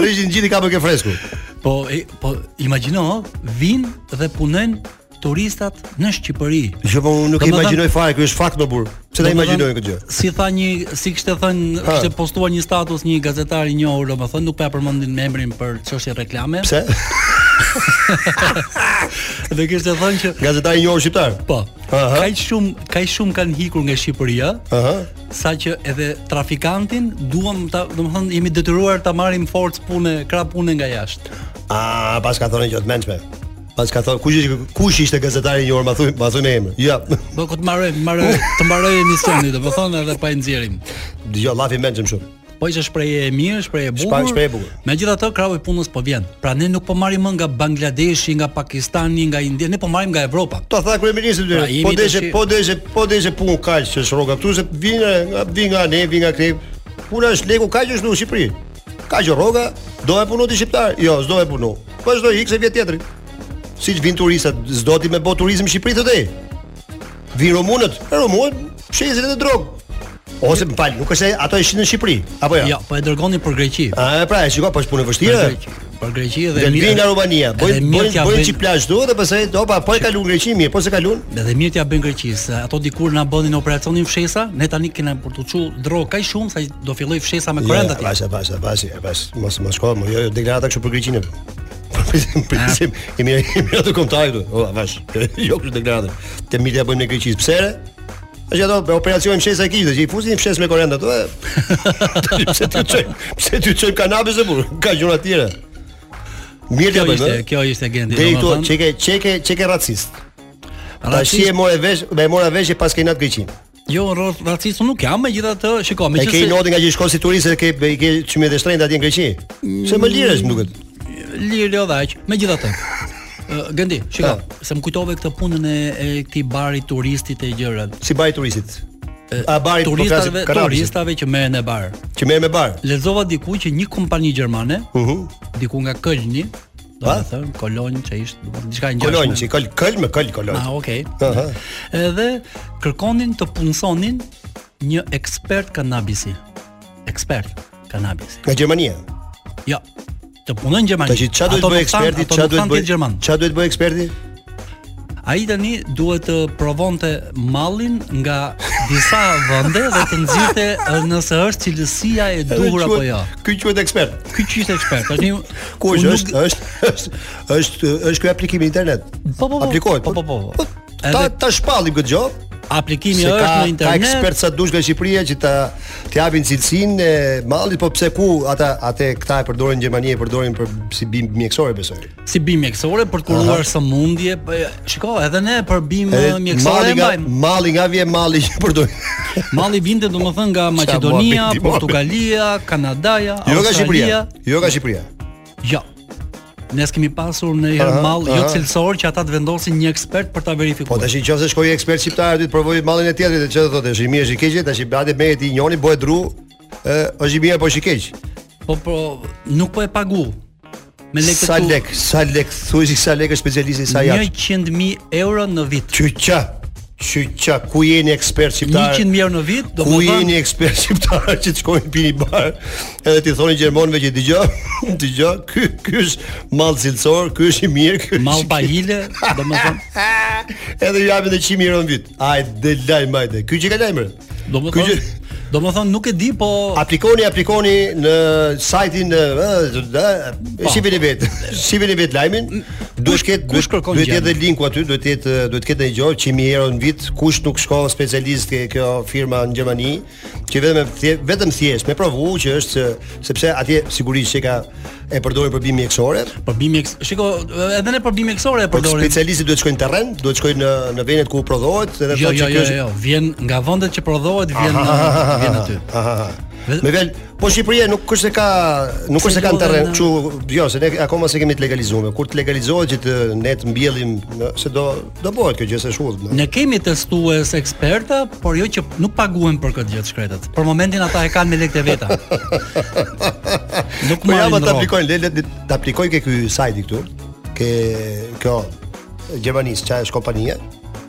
B: Rregjik në gjithë i kapë ke fresku.
A: po e, po imagjino, ëh, vinë dhe punojnë turistat në Shqipëri.
B: Jo, po unë nuk e
A: Domethënë-
B: imagjinoj fare, ky është fakt më burr. Pse ta
A: Domethënë,
B: imagjinoj këtë gjë?
A: Si tha një, si kishte thënë,
B: Ha.
A: kishte postuar një status një gazetar i njohur domethënë, nuk po ja përmendin me emrin për çështje reklame.
B: Pse?
A: Dhe kishte thënë që
B: Gazetari i njohur shqiptar.
A: po,
B: Aha.
A: kaq shumë, kaq shumë kanë hikur nga Shqipëria,
B: Aha.
A: sa që edhe trafikantin duam ta, domethënë jemi detyruar ta marrim forcë pune, krah pune nga jashtë.
B: A pas ka thonë që të mendshme. Pas ka thonë kush ishte kush ishte gazetari i njohur, ma thuj, ma thuj me emër. Ja.
A: Do këtë mbaroj, mbaroj, të mbaroj emisionin, domethënë edhe pa e nxjerrim.
B: Dgjoj, llafi mendshëm shumë.
A: po ishte shprehje e mirë, shprehje e bukur.
B: Shpa- shprehje e bukur.
A: Megjithatë, krahu i punës po vjen. Pra ne nuk po marrim më nga Bangladeshi, nga Pakistani, nga India, ne po marrim nga Evropa.
B: Ta tha kryeministri
A: Pra,
B: dy.
A: jemi
B: Po
A: të
B: deshe,
A: shi-
B: po deshe, po deshe punë kaq që shroka këtu se vin nga nga- vin nga ne, vin nga kre. Puna është leku kaq është në Shqipëri. Kaq rroga, do e punu ti shqiptar? Jo, s'do e punu. Vazhdoi ikse vjet tjetri. Siç vin turistat, s'do ti me bë turizëm në Shqipëri thotë. Vin romunët, e romunët shesin edhe drog. Ose më fal, nuk është se ato ishin në Shqipëri, apo jo?
A: Jo, po e dërgonin për Greqi.
B: A, e pra, e shiko, po është punë e
A: Për
B: vështirë.
A: Greqi, për Greqi dhe
B: Del vin nga Rumania,
A: Edhe
B: bojnë
A: mirë
B: bojnë
A: t'ja
B: bojnë
A: bëjnë-
B: çi plazh do dhe pastaj opa, po e kalon Greqin mirë, po se kalon.
A: Edhe mirë t'ja bën Greqisë. Ato dikur na bënin operacionin fshesa, ne tani kena për të çu dro kaq shumë sa do filloj fshesa me korrent
B: Jo,
A: atje.
B: Pasha, pasha, pasha, pasha. Mos mos shko, mo, jo, jo, deklarata kështu për Greqinë. Prisim, prisim,
A: Ah.
B: jemi jemi ato kontakte këtu. O, vash. Jo kështu deklarata. Te mirë ja bëjmë në Greqi. Pse? re? Është ato për operacionin fshesa e kishte, që i fusin fshes me korrent ato. e. Pse ti çoj? Pse ti çoj kanabis e burr? Ka gjëra të tjera.
A: Kjo
B: Mirë ja bëjmë.
A: ishte,
B: e.
A: kjo ishte gendi.
B: Deri këtu
A: domethënë,
B: çeke çeke çeke racist. Tashi
A: racist-
B: e more vesh, e mora vesh që pas kejnat Greqin.
A: Jo, rro- racist unë nuk jam, megjithatë, shiko,
B: E ke i
A: megjithëse
B: noti nga që shkon si turist e ke i ke çmime të shtrenjtë atje në Greqi. Se më liresh më duket.
A: lirë jo dhaq. Megjithatë, ë, Gëndi, shiko, se më kujtove këtë punën e, e këtij bari turistit e gjërat.
B: Si bari turistit. A bari po flasim
A: Turistave,
B: kanabisit,
A: turistave që merren në bar.
B: që merr me bar.
A: Lexova diku që një kompani gjermane,
B: Uhu.
A: diku nga Kölni, do
B: Pa?
A: të thënë Kolonjë që ishte, do të thënë diçka e ngjashme.
B: Kolonjë, si kol kol me kol kolonjë.
A: Ah, okay.
B: Aha.
A: Edhe kërkonin të punësonin një ekspert kanabisi. Ekspert kanabisi.
B: Nga Gjermania.
A: Jo. Të punën në Gjermani.
B: Tash ç'a duhet
A: Ato nuk
B: bëj
A: thanë-
B: eksperti,
A: ato
B: ç'a
A: nuk
B: duhet
A: thanë
B: bëj
A: tjetë Gjerman.
B: Ç'a duhet bëj eksperti?
A: Ai tani duhet të provonte mallin nga disa vende dhe të nxirte ë, nëse është cilësia e duhur apo
B: Quhet-
A: jo.
B: Ky quhet ekspert.
A: Ky që ishte ekspert. Tani
B: Ku
A: unë
B: është?
A: nuk-
B: Është është është është është ky aplikimi internet.
A: Po po. po,
B: Aplikohet.
A: Po po po. po.
B: Ta
A: Edhe
B: ta shpallim këtë gjë.
A: aplikimi
B: Se
A: është
B: ka,
A: në
B: ka
A: internet.
B: ekspert sa dush nga Shqipëria që ta t'japin cilësinë e mallit, po pse ku ata atë këta e përdorin në Gjermani e përdorin për si bimë mjekësore besoj.
A: si bimë mjekësore për të kuruar sëmundje. po, e, Shiko, edhe ne për bimë
B: Edhe
A: mjekësore
B: malli
A: e
B: nga
A: mbajmë.
B: malli nga vjen malli që përdorin.
A: Malli vinte domethënë nga Maqedonia,
B: muhabeti,
A: Portugalia, Kanadaja,
B: Jo nga Shqipëria.
A: Australia.
B: Jo nga Shqipëria.
A: Jo. Ne s'kemi pasur në herë
B: Aha,
A: mall jo
B: aha.
A: cilësor që ata të vendosin një ekspert për ta
B: Po
A: verifikuar.
B: tash i qoftë se shkoi ekspert shqiptar aty të provoi mallin e tjetrit, e çfarë do thotë? Është i mirë, është i keq, tash i bade me ti njoni bëhet dru, ë është i mirë apo është i keq?
A: Po po nuk po e pagu. Me lekë
B: Sa lek, sa lek, thuaj se sa lek është specialisti sa jashtë.
A: 100.000 euro në vit.
B: Qyça. Qyça ku jeni ekspert shqiptar?
A: 100.000 euro në vit, do
B: Ku
A: më
B: jeni
A: thënë
B: ekspert shqiptar që të shkojnë pini bar, edhe ti thonë gjermanëve që dëgjoj, dëgjoj, ky ky është mall cilësor, ky është i mirë, ky është
A: mall
B: i keq."
A: pahile, do më thënë
B: Edhe ju japin 100 euro në vit. Hajde lajm hajde. Ky që ka lajmër.
A: do më
B: Ky
A: thënë
B: që-
A: do më thënë nuk e di po
B: Aplikoni, aplikoni në sajtin ë shifeni vet. Shifeni vet lajmin. Duhet të ketë
A: Po. kush kërkon
B: duhet të
A: gjën?
B: jetë edhe linku aty, duhet të jetë ë, duhet të ketë një gjë 1000 euro në vit, kush nuk shko specialist ke kjo firma në Gjermani, që vetëm e thje- vetëm thjesht me provu që është se- sepse atje sigurisht që ka e përdorin për bimë mjekësore.
A: përbimi eks- shiko edhe ne përbimi eksore e
B: Por
A: përdorim.
B: specialisti duhet të shkojnë në terren, duhet të shkojnë në në vendet ku prodhohet, edhe
A: Jo, jo,
B: thotë që
A: jo,
B: kjo është
A: jo, vjen nga vendet që prodhohet, vjen vjen aty.
B: Aha.
A: Vetëm-
B: Me vel, po Shqipëria nuk është se ka nuk është se ka në terren, kështu, jo, se ne akoma se kemi të legalizuar. Kur të legalizohet që të ne të mbjellim, në- se do do bëhet kjo gjë se shuhet. në.
A: Ne kemi testues eksperta, por jo që nuk paguhen për këtë gjë të shkretët. Për momentin ata e kanë me lekët e veta. nuk
B: Po ja
A: marrin
B: ma të
A: rrok.
B: aplikojnë, le le të aplikoj ke ky sajti këtu, ke kjo Gjermanisë, çfarë është kompania?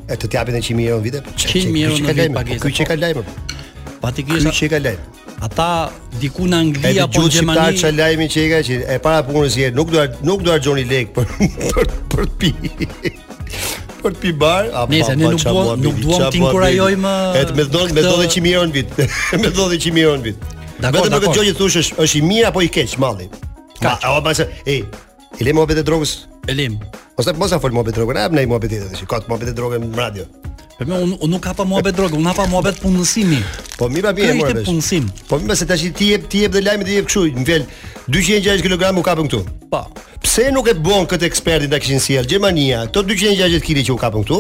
B: e të t'japin e 100.000 euro në vite. po
A: 100.000 euro në vit
B: pagesa.
A: pagesa,
B: Ky që
A: po.
B: ka lajmë. Ky
A: Patikisht
B: që ka lajmë.
A: ata diku në
B: E
A: Angli
B: të
A: apo
B: gjutë
A: në
B: shqiptarë që
A: po, Gjermani.
B: lajmi që i ka që e para punës i erë, nuk do nuk do argjoni lek për për për të pi. për të pi bar, apo
A: Nese, ne nuk duam- nuk duam të inkurajojmë,
B: E të me dhonë me
A: këtë-
B: 10000 euro në vit. me 10000 euro në vit.
A: Dakor,
B: Vetëm me këtë
A: dakor.
B: gjë që thosh është është i mirë apo i keq malli. Ka, o mase, e, i le mohabet e drogës.
A: Elim.
B: Mos ta mos ta fol mohabet e drogën, hap në mohabet e drogës. Ka të mohabet e drogën në radio.
A: Për mua unë unë nuk hapa muhabet drogë, unë hapa muhabet punësimi.
B: Po mira
A: Kjo
B: bie
A: ishte
B: morë vesh.
A: punësim.
B: Po mira se tash i ti jep ti jep dhe lajmin dhe i jep kështu, më fal 260 kg u kapën këtu.
A: Po.
B: Pse nuk e bën këtë ekspertin ta kishin sjell Gjermania, këto 260 kg që u kapën këtu?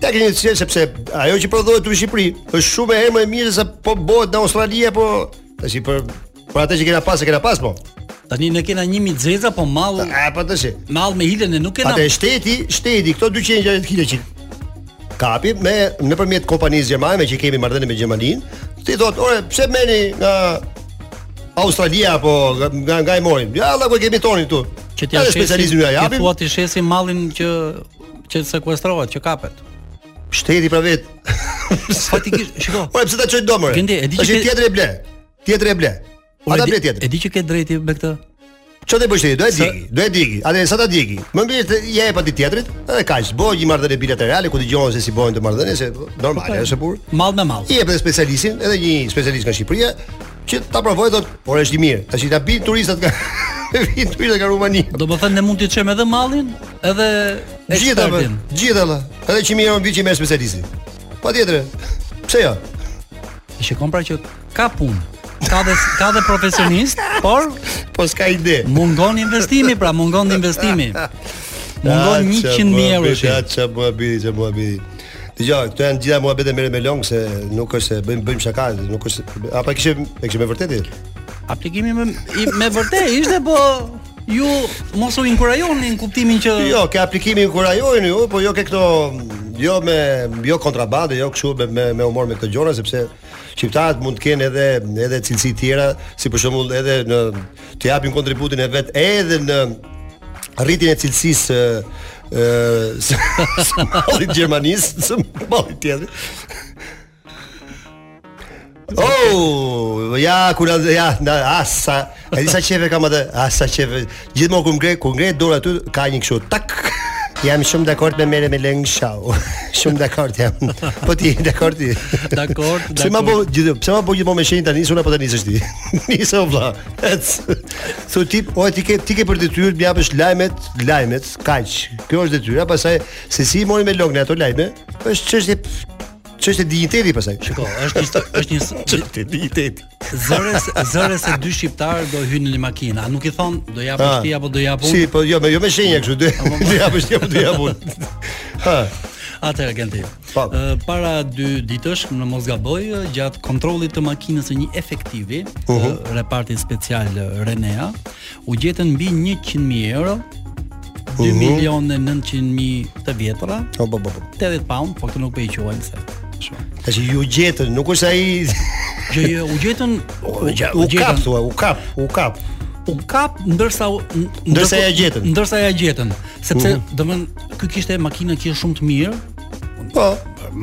B: Ta kishin sjell sepse ajo që prodhohet këtu në Shqipëri është shumë e herë më e mirë se po bëhet në Australi apo tash i për për Por atë që kena pas, e kena pas po.
A: Tani ne kena 1000 xeza, po mall
B: A po tash.
A: mall me hilen ne nuk kena.
B: Atë shteti, shteti këto 260 kg që kapi me nëpërmjet kompanisë gjermane me që kemi marrëdhënie me Gjermaninë, ti thotë, "Ore, pse merrni nga Australia apo nga nga e morim?" Ja, Allah ku e kemi tonin këtu.
A: që t'ja
B: Edhe
A: shesin.
B: specialistin ja japim.
A: Ti thua ti shesin mallin që që sekuestrohet, që kapet.
B: Shteti pra vet.
A: Fatikisht, shiko.
B: Ore, Po, pse ta çoj domër?
A: Gendi, e di që
B: Tash
A: ke-
B: tjetër e ble. Tjetër e ble.
A: Ore,
B: Ata
A: di-
B: ble tjetër.
A: E di që ke drejti me këtë.
B: Ço të bësh ti? Do e digi, do e digi. Atë sa ta digi. Më mirë të ja e pa ti tjetrit, edhe kaq. Bëj një marrëdhënie bilaterale ku dëgjohen se si bëhen të marrëdhënie, se
A: Po,
B: normale është e burr.
A: Mall me mall.
B: I jep edhe specialistin, edhe një specialist nga Shqipëria që ta provojë thotë, por është i mirë. Tash i ta bin turistat nga bin turistat nga Rumania.
A: Do të thënë ne mund t'i çojmë edhe mallin, edhe
B: Gjithë apo,
A: ekspertin.
B: gjithë alla. Edhe 100 euro në vit që i merr specialisti. Patjetër. Pse jo?
A: E shikon pra që ka punë. Ka dhe ka dhe profesionist, por
B: Po s'ka ide.
A: mungon investimi, pra mungon investimi. Mungon 100.000 euro. shi.
B: Ja ça muhabiti, ça muhabiti. Dgjoj, këto janë gjitha muhabete merren me long se nuk është se bëjmë bëjmë shaka, nuk është apo e kishe e kishe me vërtetë?
A: Aplikimi me i- me vërtet ishte po ju mos u inkurajoni në kuptimin që
B: Jo, ke aplikimi inkurajojnë ju, po jo ke këto jo me jo kontrabandë, jo kështu me me, me humor me këto gjëra sepse shqiptarët mund të kenë edhe edhe cilësi tjera, si për shembull edhe në të japin kontributin e vet edhe në rritjen e cilësisë ë ë, së së mallit gjermanisë, së mallit tjetër. Oh, ja kur ja na asa. E disa çeve kam atë, asa çeve. Gjithmonë kur ngre, kur ngre dorë aty ka një kështu tak. Jam shumë dakord me merre me Leng Shau. shumë dakord jam. Po ti je dakord ti.
A: Dakord,
B: Pse ma
A: dakord.
B: po gjithë, pse ma po gjithmonë me shenjë tani, unë apo tani nisësh ti. Nisë o vlla. Ec. Thu ti, o ti ke ti ke për detyrë të më japësh lajmet, lajmet, kaq. Kjo është detyra, pastaj se si i mori me Leng ato lajme, është çështje çështje digniteti pastaj.
A: Shiko, Po, është një, është një
B: Çështje digniteti.
A: zëres zëres se dy shqiptar do hynë në makinë. A nuk i thon do japësh
B: Ah.
A: ti apo do jap unë?
B: Si, po jo, me jo me shenja kështu, dy dy japësh ti apo dy jap unë. Ha.
A: Atëherë Genti.
B: Po.
A: ë, Para dy ditësh, në mos gaboj, ë, gjatë kontrollit të makinës së një efektivi, ë, reparti special ë, Renea, u gjetën mbi 100.000 euro, 2 milionë 900.000 të vjetra,
B: Po po po. po.
A: 80 pound, po këtë nuk po i quajnë se. Shumë.
B: Tash ju gjetën, nuk është ai
A: Që jo, u gjetën u,
B: u kap thua, u kap, u kap.
A: u kap ndërsa u- n-
B: Ndërsa
A: ndërko-
B: ja gjetën. Mhm.
A: Ndërsa ja gjetën, sepse domthon ky kishte makinë që është shumë të mirë,
B: Po.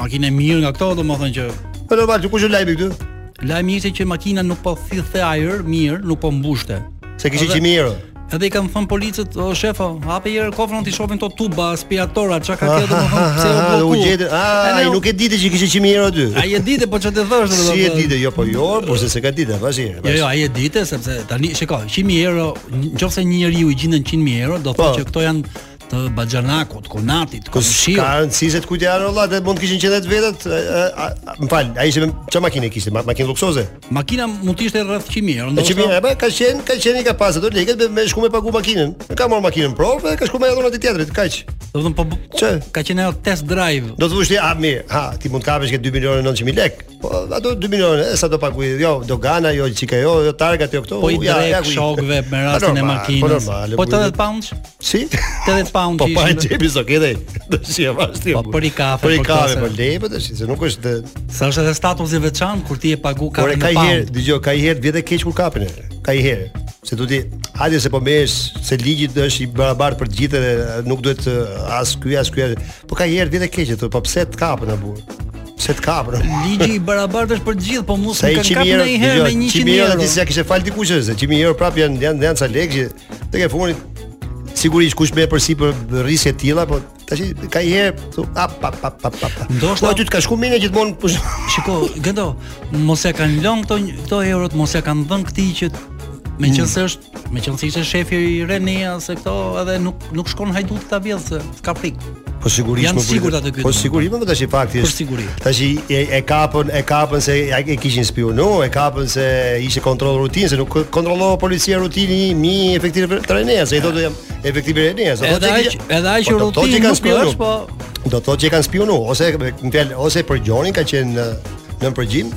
A: makinë e mirë nga këto domethënë që
B: Po normal, ku është lajmi këtu?
A: lajmi ishte që makina nuk po thithte ajër mirë, nuk po mbushte.
B: Se kishte
A: Edhe-
B: 100 euro.
A: Edhe i kanë thënë policët, o shefo, hapi herë kofrën ti shohim to tuba, aspiratora, çka ka kjo domethënë pse u
B: u
A: blloku.
B: gjetën. Ah, ai nuk e ditë që kishte 100 euro aty.
A: Ai e dite, po ç'të thosh domethënë.
B: Si e ditë, jo po jo, por se se ka ditë, vazhdi.
A: Jo, jo, ai e dite sepse tani shikoj, 100000 euro, nëse një njeriu i gjendën 100000 euro, do
B: Po.
A: thotë që këto janë të Baxhanakut, Kunatit,
B: Kus ka
A: Komshiut.
B: rëndësi se të kujtë janë olla, dhe mund të kishin qenë vetë vetët. Më fal, ai ishte çfarë makine kishte? Ma- Makinë luksoze.
A: Makina mund të ishte rreth 100000 euro,
B: E që mirë,
A: ndoshta.
B: e ba, ka qenë, ka qenë i ka pasë ato lekët me, me shku me pagu makinën. E Ka marrë makinën provë dhe ka shku me dhona të tjetrit, kaq.
A: Do të thonë po
B: Çe?
A: ka qenë ajo test drive.
B: Do të thosh ti, a mirë, ha, ti mund të kapesh ke 2 milionë 900 mijë lek. Po ato 2 milionë, e sa do paguaj? Jo, dogana, jo çika, jo, jo targat, jo këto.
A: Po i
B: u,
A: drek
B: ku i-
A: shokëve me
B: Pa
A: rastin e
B: normal, Po
A: makinës.
B: normal.
A: Po
B: ku i-
A: 80 pounds,
B: Si?
A: 80 pound
B: Po
A: që
B: pa
A: ishin
B: në
A: dhe-
B: xhepi zokete. Do shi e vash ti.
A: Po,
B: bu.
A: për i kafe,
B: Për i
A: për
B: kafe,
A: kase.
B: për le, po tash, se nuk është
A: Sa është edhe statusi veçantë kur ti e pagu ka
B: Por e
A: në
B: ka i herë,
A: pound.
B: dëgjoj, ka i herë vjetë keq kur kapin. e. Ka i herë. Se do ti, hajde se po merresh se ligji është i barabartë për të gjithë dhe nuk duhet të, as ky as ky. as- Po ka i herë vjetë keq, thotë, po pse të kapën apo? Pse të kapën? a?
A: Ligji i barabartë është për të gjithë, po mos
B: Sa
A: më
B: i
A: kanë
B: 100
A: kapur
B: euro,
A: ndonjëherë me 100
B: euro
A: euro.
B: ti s'ia kishe fal dikush se 100 euro prap janë janë janë ca lekë që tek e fundit sigurisht kush më përsi për rrisje të tilla, po tash ka i herë, thu, a pa pa pa pa. pa.
A: Ndoshta-
B: po aty të ka shku mirë gjithmonë. po-
A: Shiko, Gendo, mos ja kanë lënë këto këto eurot, mos ja kanë dhënë këtij që
B: Mm.
A: meqense është, meqense ishte shefi i Renia se këto edhe nuk nuk shkon hajduti ta vjedh se ka frikë.
B: Po sigurisht
A: Janë
B: më pritet.
A: sigurt atë Po ky
B: Po
A: domethënë.
B: sigurisht më tash i fakti
A: Për
B: është.
A: siguri.
B: Tash i- e, e kapën, e kapën se ja- e kishin spionu, e kapën se ishte kontroll rutinë, se nuk kontrollova policia rutinë mi efektiv të Renea, se i thotë jam efektiv Renea, se
A: Edhe
B: thotë
A: aq, edhe
B: Po,
A: aq rutinë nuk është, po
B: do të thotë që e kanë spionu ose me fjalë ose për Gjonin ka qenë në, në përgjim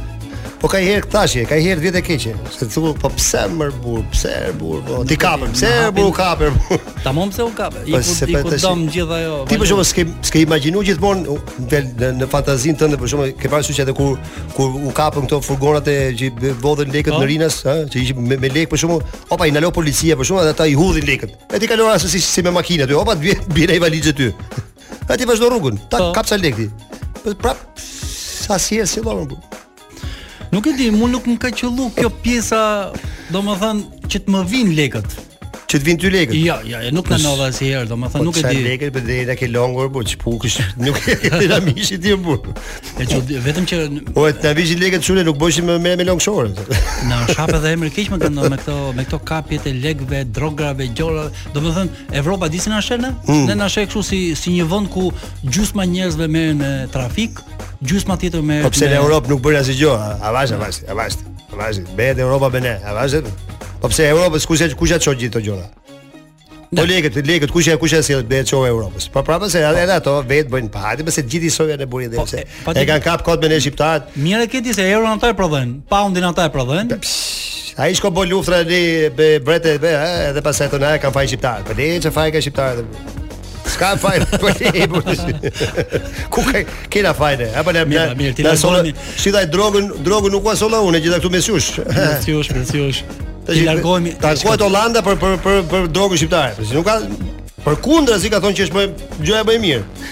B: Po ka i herë këtashje, ka i herë vjetë e keqe. Se thu, po pse mër burr, pse er burr, po ti kapër, pse er burr, u kapër.
A: Tamam se u kape. I
B: Po,
A: ku
B: se
A: i
B: pa
A: ku
B: tash-
A: dom gjithë ajo.
B: Ti po për
A: vazhdo.
B: shkakun s'ke s'ke imagjinuar gjithmonë u, del- në, në fantazinë tënde për shkakun ke parasysh edhe kur kur u kapën këto furgonat e që i vodhën lekët
A: Po.
B: në Rinas, ë, që ishin me, me lekë për shkakun, opa i ndalo policia për shkakun dhe ata i hudhin lekët. E ti kalon ashtu si si me makinë aty, opa të vjen bie ai valizë ty. E ti vazhdo rrugën, ta
A: Po.
B: kap sa lekë. Po prap sa si e po. sillon. bu.
A: Nuk e di, mu nuk më ka qellu kjo pjesa, domethënë që të më vinë lekët.
B: Që të vinë ty lekët.
A: Ja, ja, ja, nuk na ndodha asnjëherë, domethënë Jo, nuk e di.
B: Po çfarë lekët për deri ke longur, po çpukësh, nuk e ke na mishi ti bu.
A: E që vetëm që n-
B: O, të na vishin lekët çune nuk bëshim me me, me longshore.
A: na shap edhe emër keq më kanë ndodhur me këto me këto kapjet e lekëve, drograve, gjora. Domethënë Evropa di si na shën ne?
B: Hmm.
A: Ne na sheh kështu si si një vend ku gjysma njerëzve merren me trafik, gjysma tjetër merren.
B: Po pse
A: me-
B: në Europë nuk bëri asgjë? Avash, avash, avash. Avash, bëhet Europa me ne, avash. Po pse Europa kush e kush e çon gjithë këto gjëra? Po lekët, lekët kush e kush e sjell bëhet çon Europës. Po prapë se edhe ato vetë bëjnë pa hajde, pse të gjithë i soja në burin
A: Po,
B: dhe pse.
A: e, pa
B: E
A: tjetër-
B: kanë kap kot me ne shqiptarët.
A: Mirë e ke ti se euron ata e prodhojnë, poundin ata e prodhojnë.
B: Ai shko bë luftra ne be brete be e, edhe pastaj tonë e kanë faj shqiptar. Po le çfarë faj ka shqiptar. S'ka faj po le. po, Ku ka kena fajne? Apo ne
A: Mirë, mirë, ti
B: na sola-
A: largohemi.
B: Si daj drogën, drogën nuk ka solla unë gjitha këtu me syush.
A: Preciosh, preciosh. Ti largohemi.
B: Takohet Holanda për për për për drogën shqiptare. Po si nuk ka Përkundra si ka thonë që është më gjëja më e mirë.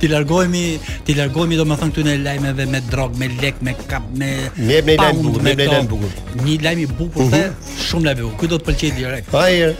A: Ti largohemi, ti largohemi domethënë këtu në lajmeve me drog, me lek, me kap, me
B: Më jep një lajm
A: pound,
B: bukur,
A: me
B: më jep një
A: to.
B: lajm bukur. Mhm.
A: Një lajm i bukur the shumë lajm i bukur. Ky do të pëlqej direkt.
B: Ai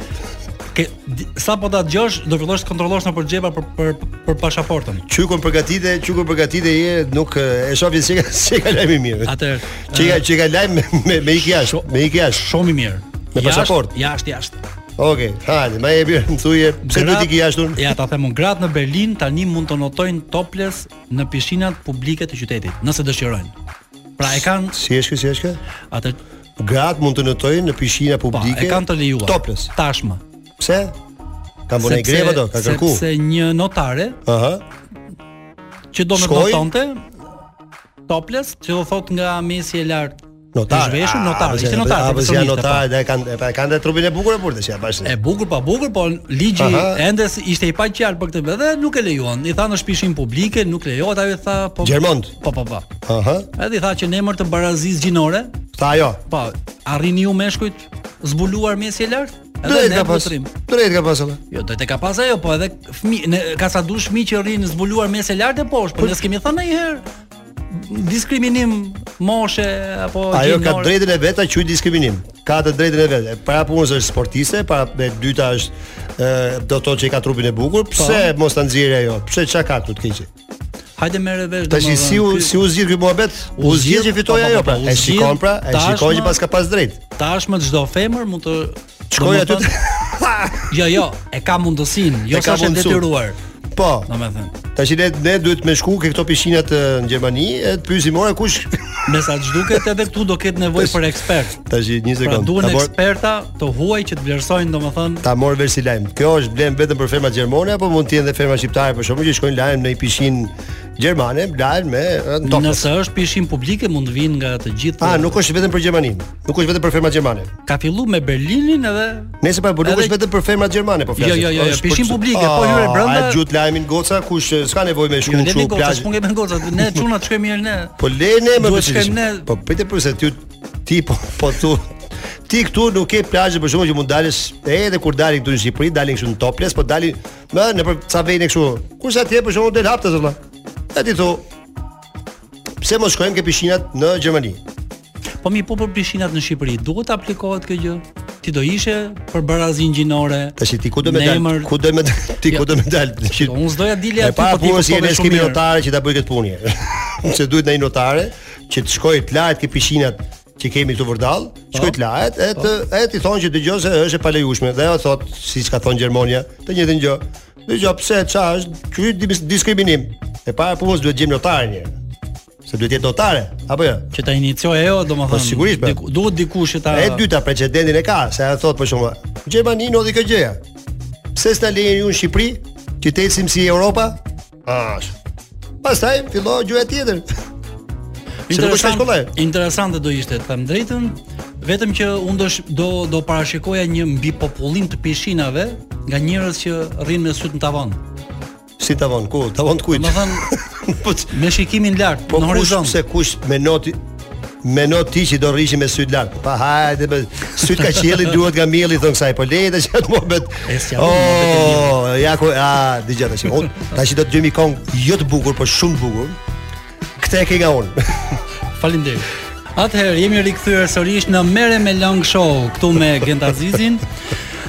A: Ke di- sa po ta dëgjosh, do fillosh të kontrollosh nëpër xhepa për për për pasaportën.
B: Qykun përgatite, qykun përgatite je nuk e e shohin se ka se ka lajm i mirë.
A: Atëherë,
B: Që ka që ka lajm me me, me ik jashtë,
A: Sho-
B: me ik jashtë.
A: shumë i mirë.
B: Me pasaportë?
A: Jashtë, jashtë.
B: Okej, hajde, ma e bjerë më thuje, pse
A: Gratë-
B: duhet i ki jashtë unë?
A: Ja, ta them unë, gratë në Berlin tani mund të notojnë topless në pishinat publike të qytetit, nëse dëshirojnë. Pra e kanë
B: Si është kjo, si është kjo?
A: atë
B: Gratë mund të nëtojnë në pishina
A: po,
B: publike.
A: e kanë të lejuar.
B: Topless.
A: Tashmë.
B: Pse? Ka bënë
A: Sepse-
B: greva do, ka kërku.
A: Sepse një notare
B: Aha.
A: që do me të
B: Shkoi?
A: notonte topless, që do thot nga mesi e lartë.
B: Notar.
A: i zhveshur,
B: a,
A: notar,
B: apo
A: ishte
B: si-
A: notar,
B: Apo si ah, janë
A: profesioniste,
B: notar, dhe kanë e kanë dhe trupin e bukur e burtë, si ja bashkë.
A: E bukur pa bukur, po ligji
B: Aha.
A: ende s- ishte i paqartë për këtë bë dhe nuk e lejuan. I tha në shpishin publike, nuk lejohet, ajo i tha po
B: Gjermont.
A: Po po po.
B: Aha.
A: Edhe i tha që në emër të barazisë gjinore,
B: Tha ajo.
A: po arrini ju meshkujt zbuluar mesi e lartë? Edhe
B: Drejt
A: ne
B: ka pas.
A: putrim.
B: Drejt ka pas. alla.
A: Jo, do të ka pas ajo, po edhe fëmi, ne ka sa dush fëmijë që rrinë zbuluar mes e lartë e poshtë, po ne s'kemi thënë ndonjëherë diskriminim moshe apo
B: Ajo ka
A: gjinore.
B: drejtën e vet ta quaj diskriminim. Ka të drejtën e vet. E Para punës është sportiste, para e dyta është ë do të thotë që i ka trupin e
A: Po.
B: bukur. Pse mos ta nxjerrë ajo? Pse çka ka këtu të keqe?
A: Hajde merre vesh
B: Tash
A: domethënë,
B: si u
A: ky-
B: si u zgjidh ky muhabet? U
A: U
B: zgjidh që
A: zgjidh,
B: fitoi
A: po, po,
B: ajo
A: po,
B: pra.
A: po, u
B: E
A: zgjidh,
B: shikon pra, e
A: tashmë-
B: shikoi që pas ka pas drejt.
A: tashmë çdo femër mund të
B: Shkoj aty.
A: domethënë- Jo, jo, e ka mundësinë, jo
B: E
A: sa
B: ka
A: është e
B: mundësun.
A: detyruar,
B: Po.
A: domethënë.
B: Tash ne ne duhet me shku ke këto pishinat ë, në Gjermani e të pyesim ora kush
A: Me sa të duket edhe këtu do ketë nevojë për ekspert.
B: tash një
A: Pra
B: sekond.
A: duhen
B: Ta mor
A: eksperta të huaj që të vlerësojnë domethënë
B: ta mor vesh si lajm. Kjo është blen vetëm për fermat gjermane apo mund të jenë edhe ferma shqiptare për shkakun që shkojnë lajm në një pishinë gjermane, lajm me ë, në topless.
A: Nëse është pishin publike mund të vinë nga të gjithë.
B: A, nuk është vetëm për Gjermaninë. Nuk është vetëm për fermat gjermane.
A: ka filluar me Berlinin edhe
B: Nëse pra pa nuk
A: Edhe-
B: është vetëm për fermat gjermane, po flasim.
A: Jo, jo, jo, jo,
B: Është për-
A: pishin publike, po hyre
B: Ah,
A: brenda-
B: A gjut lajmin goca kush eh, s'ka nevojë me shku
A: Jo,
B: kështu
A: lemi goca,
B: plazh.
A: s'pun kemi goca, ne çuna të shkojmë mirë ne.
B: Po le ne më
A: Duhet
B: përgjigjesh.
A: shkojmë ne-
B: Po pritet përse ty ti po po tu ti këtu nuk ke plazhe për shkakun që mund dalësh e, edhe kur dalin këtu në Shqipëri, dalin kështu në topless, po dalin më në për ca vejnë kështu. Kurse atje për shkakun del hapte zolla. E ti thu Pse mos shkojmë ke pishinat në Gjermani?
A: Po mi po për pishinat në Shqipëri, duhet të aplikohet kjo gjë? Ti do ishe për barazin gjinore.
B: Tash ti ku do me
A: në
B: dal?
A: emër-
B: Ku do me dal? Ti ku
A: Jo.
B: do me dal? Që-
A: Jo, unë s'doja dili
B: E
A: aty,
B: para
A: po ti
B: punës
A: kuptove
B: je ne
A: shumë
B: kemi
A: mirë.
B: notare që ta bëj këtë punë. Se duhet ndaj notare që të shkojë të lahet ke pishinat që kemi këtu vërdall, shkoj
A: Po.
B: të lahet e të e ti thonë që dëgjoj se është e palejueshme dhe ajo thot siç ka thonë Gjermania, të njëjtën gjë. Dëgjoj pse çfarë është ky dis- diskriminim. E para punës duhet gjejmë notare një. Se duhet jetë notare, apo jo?
A: që ta inicioj ajo, domethënë.
B: Po, sigurisht, be.
A: diku- duhet dikush që ta
B: E dyta precedentin e ka, se ajo thot për shkakun, Gjermani ndodhi kjo gjëja. Pse s'ta lejeni ju në Shqipëri, që të ecim si Europa? Ash. Pastaj filloi gjëja tjetër. Se nuk është kaq kollaj.
A: interesante do ishte, të them drejtën, vetëm që unë do sh- do do parashikoja një mbi popullim të pishinave nga njerëz që rrinë me syt në tavan.
B: Si tavon ku? Tavon të kujt?
A: Domethënë
B: po ç-
A: me shikimin lart
B: po
A: në
B: kush
A: horizont.
B: pse kush me noti me not ti që do rrishi me syt lart. Pa hajde me syt ka qielli duhet nga mielli thon kësaj, po lejta që atë mohabet.
A: E s'ja vëmë mohabet e
B: Oh, ja ku a dëgjoj tash. Unë tash do të gjejmë një këngë jo të bukur, por shumë të bukur. Këtë e ke nga unë.
A: Faleminderit. Atëherë jemi rikthyer sërish në Merre me Long Show këtu me Gent Azizin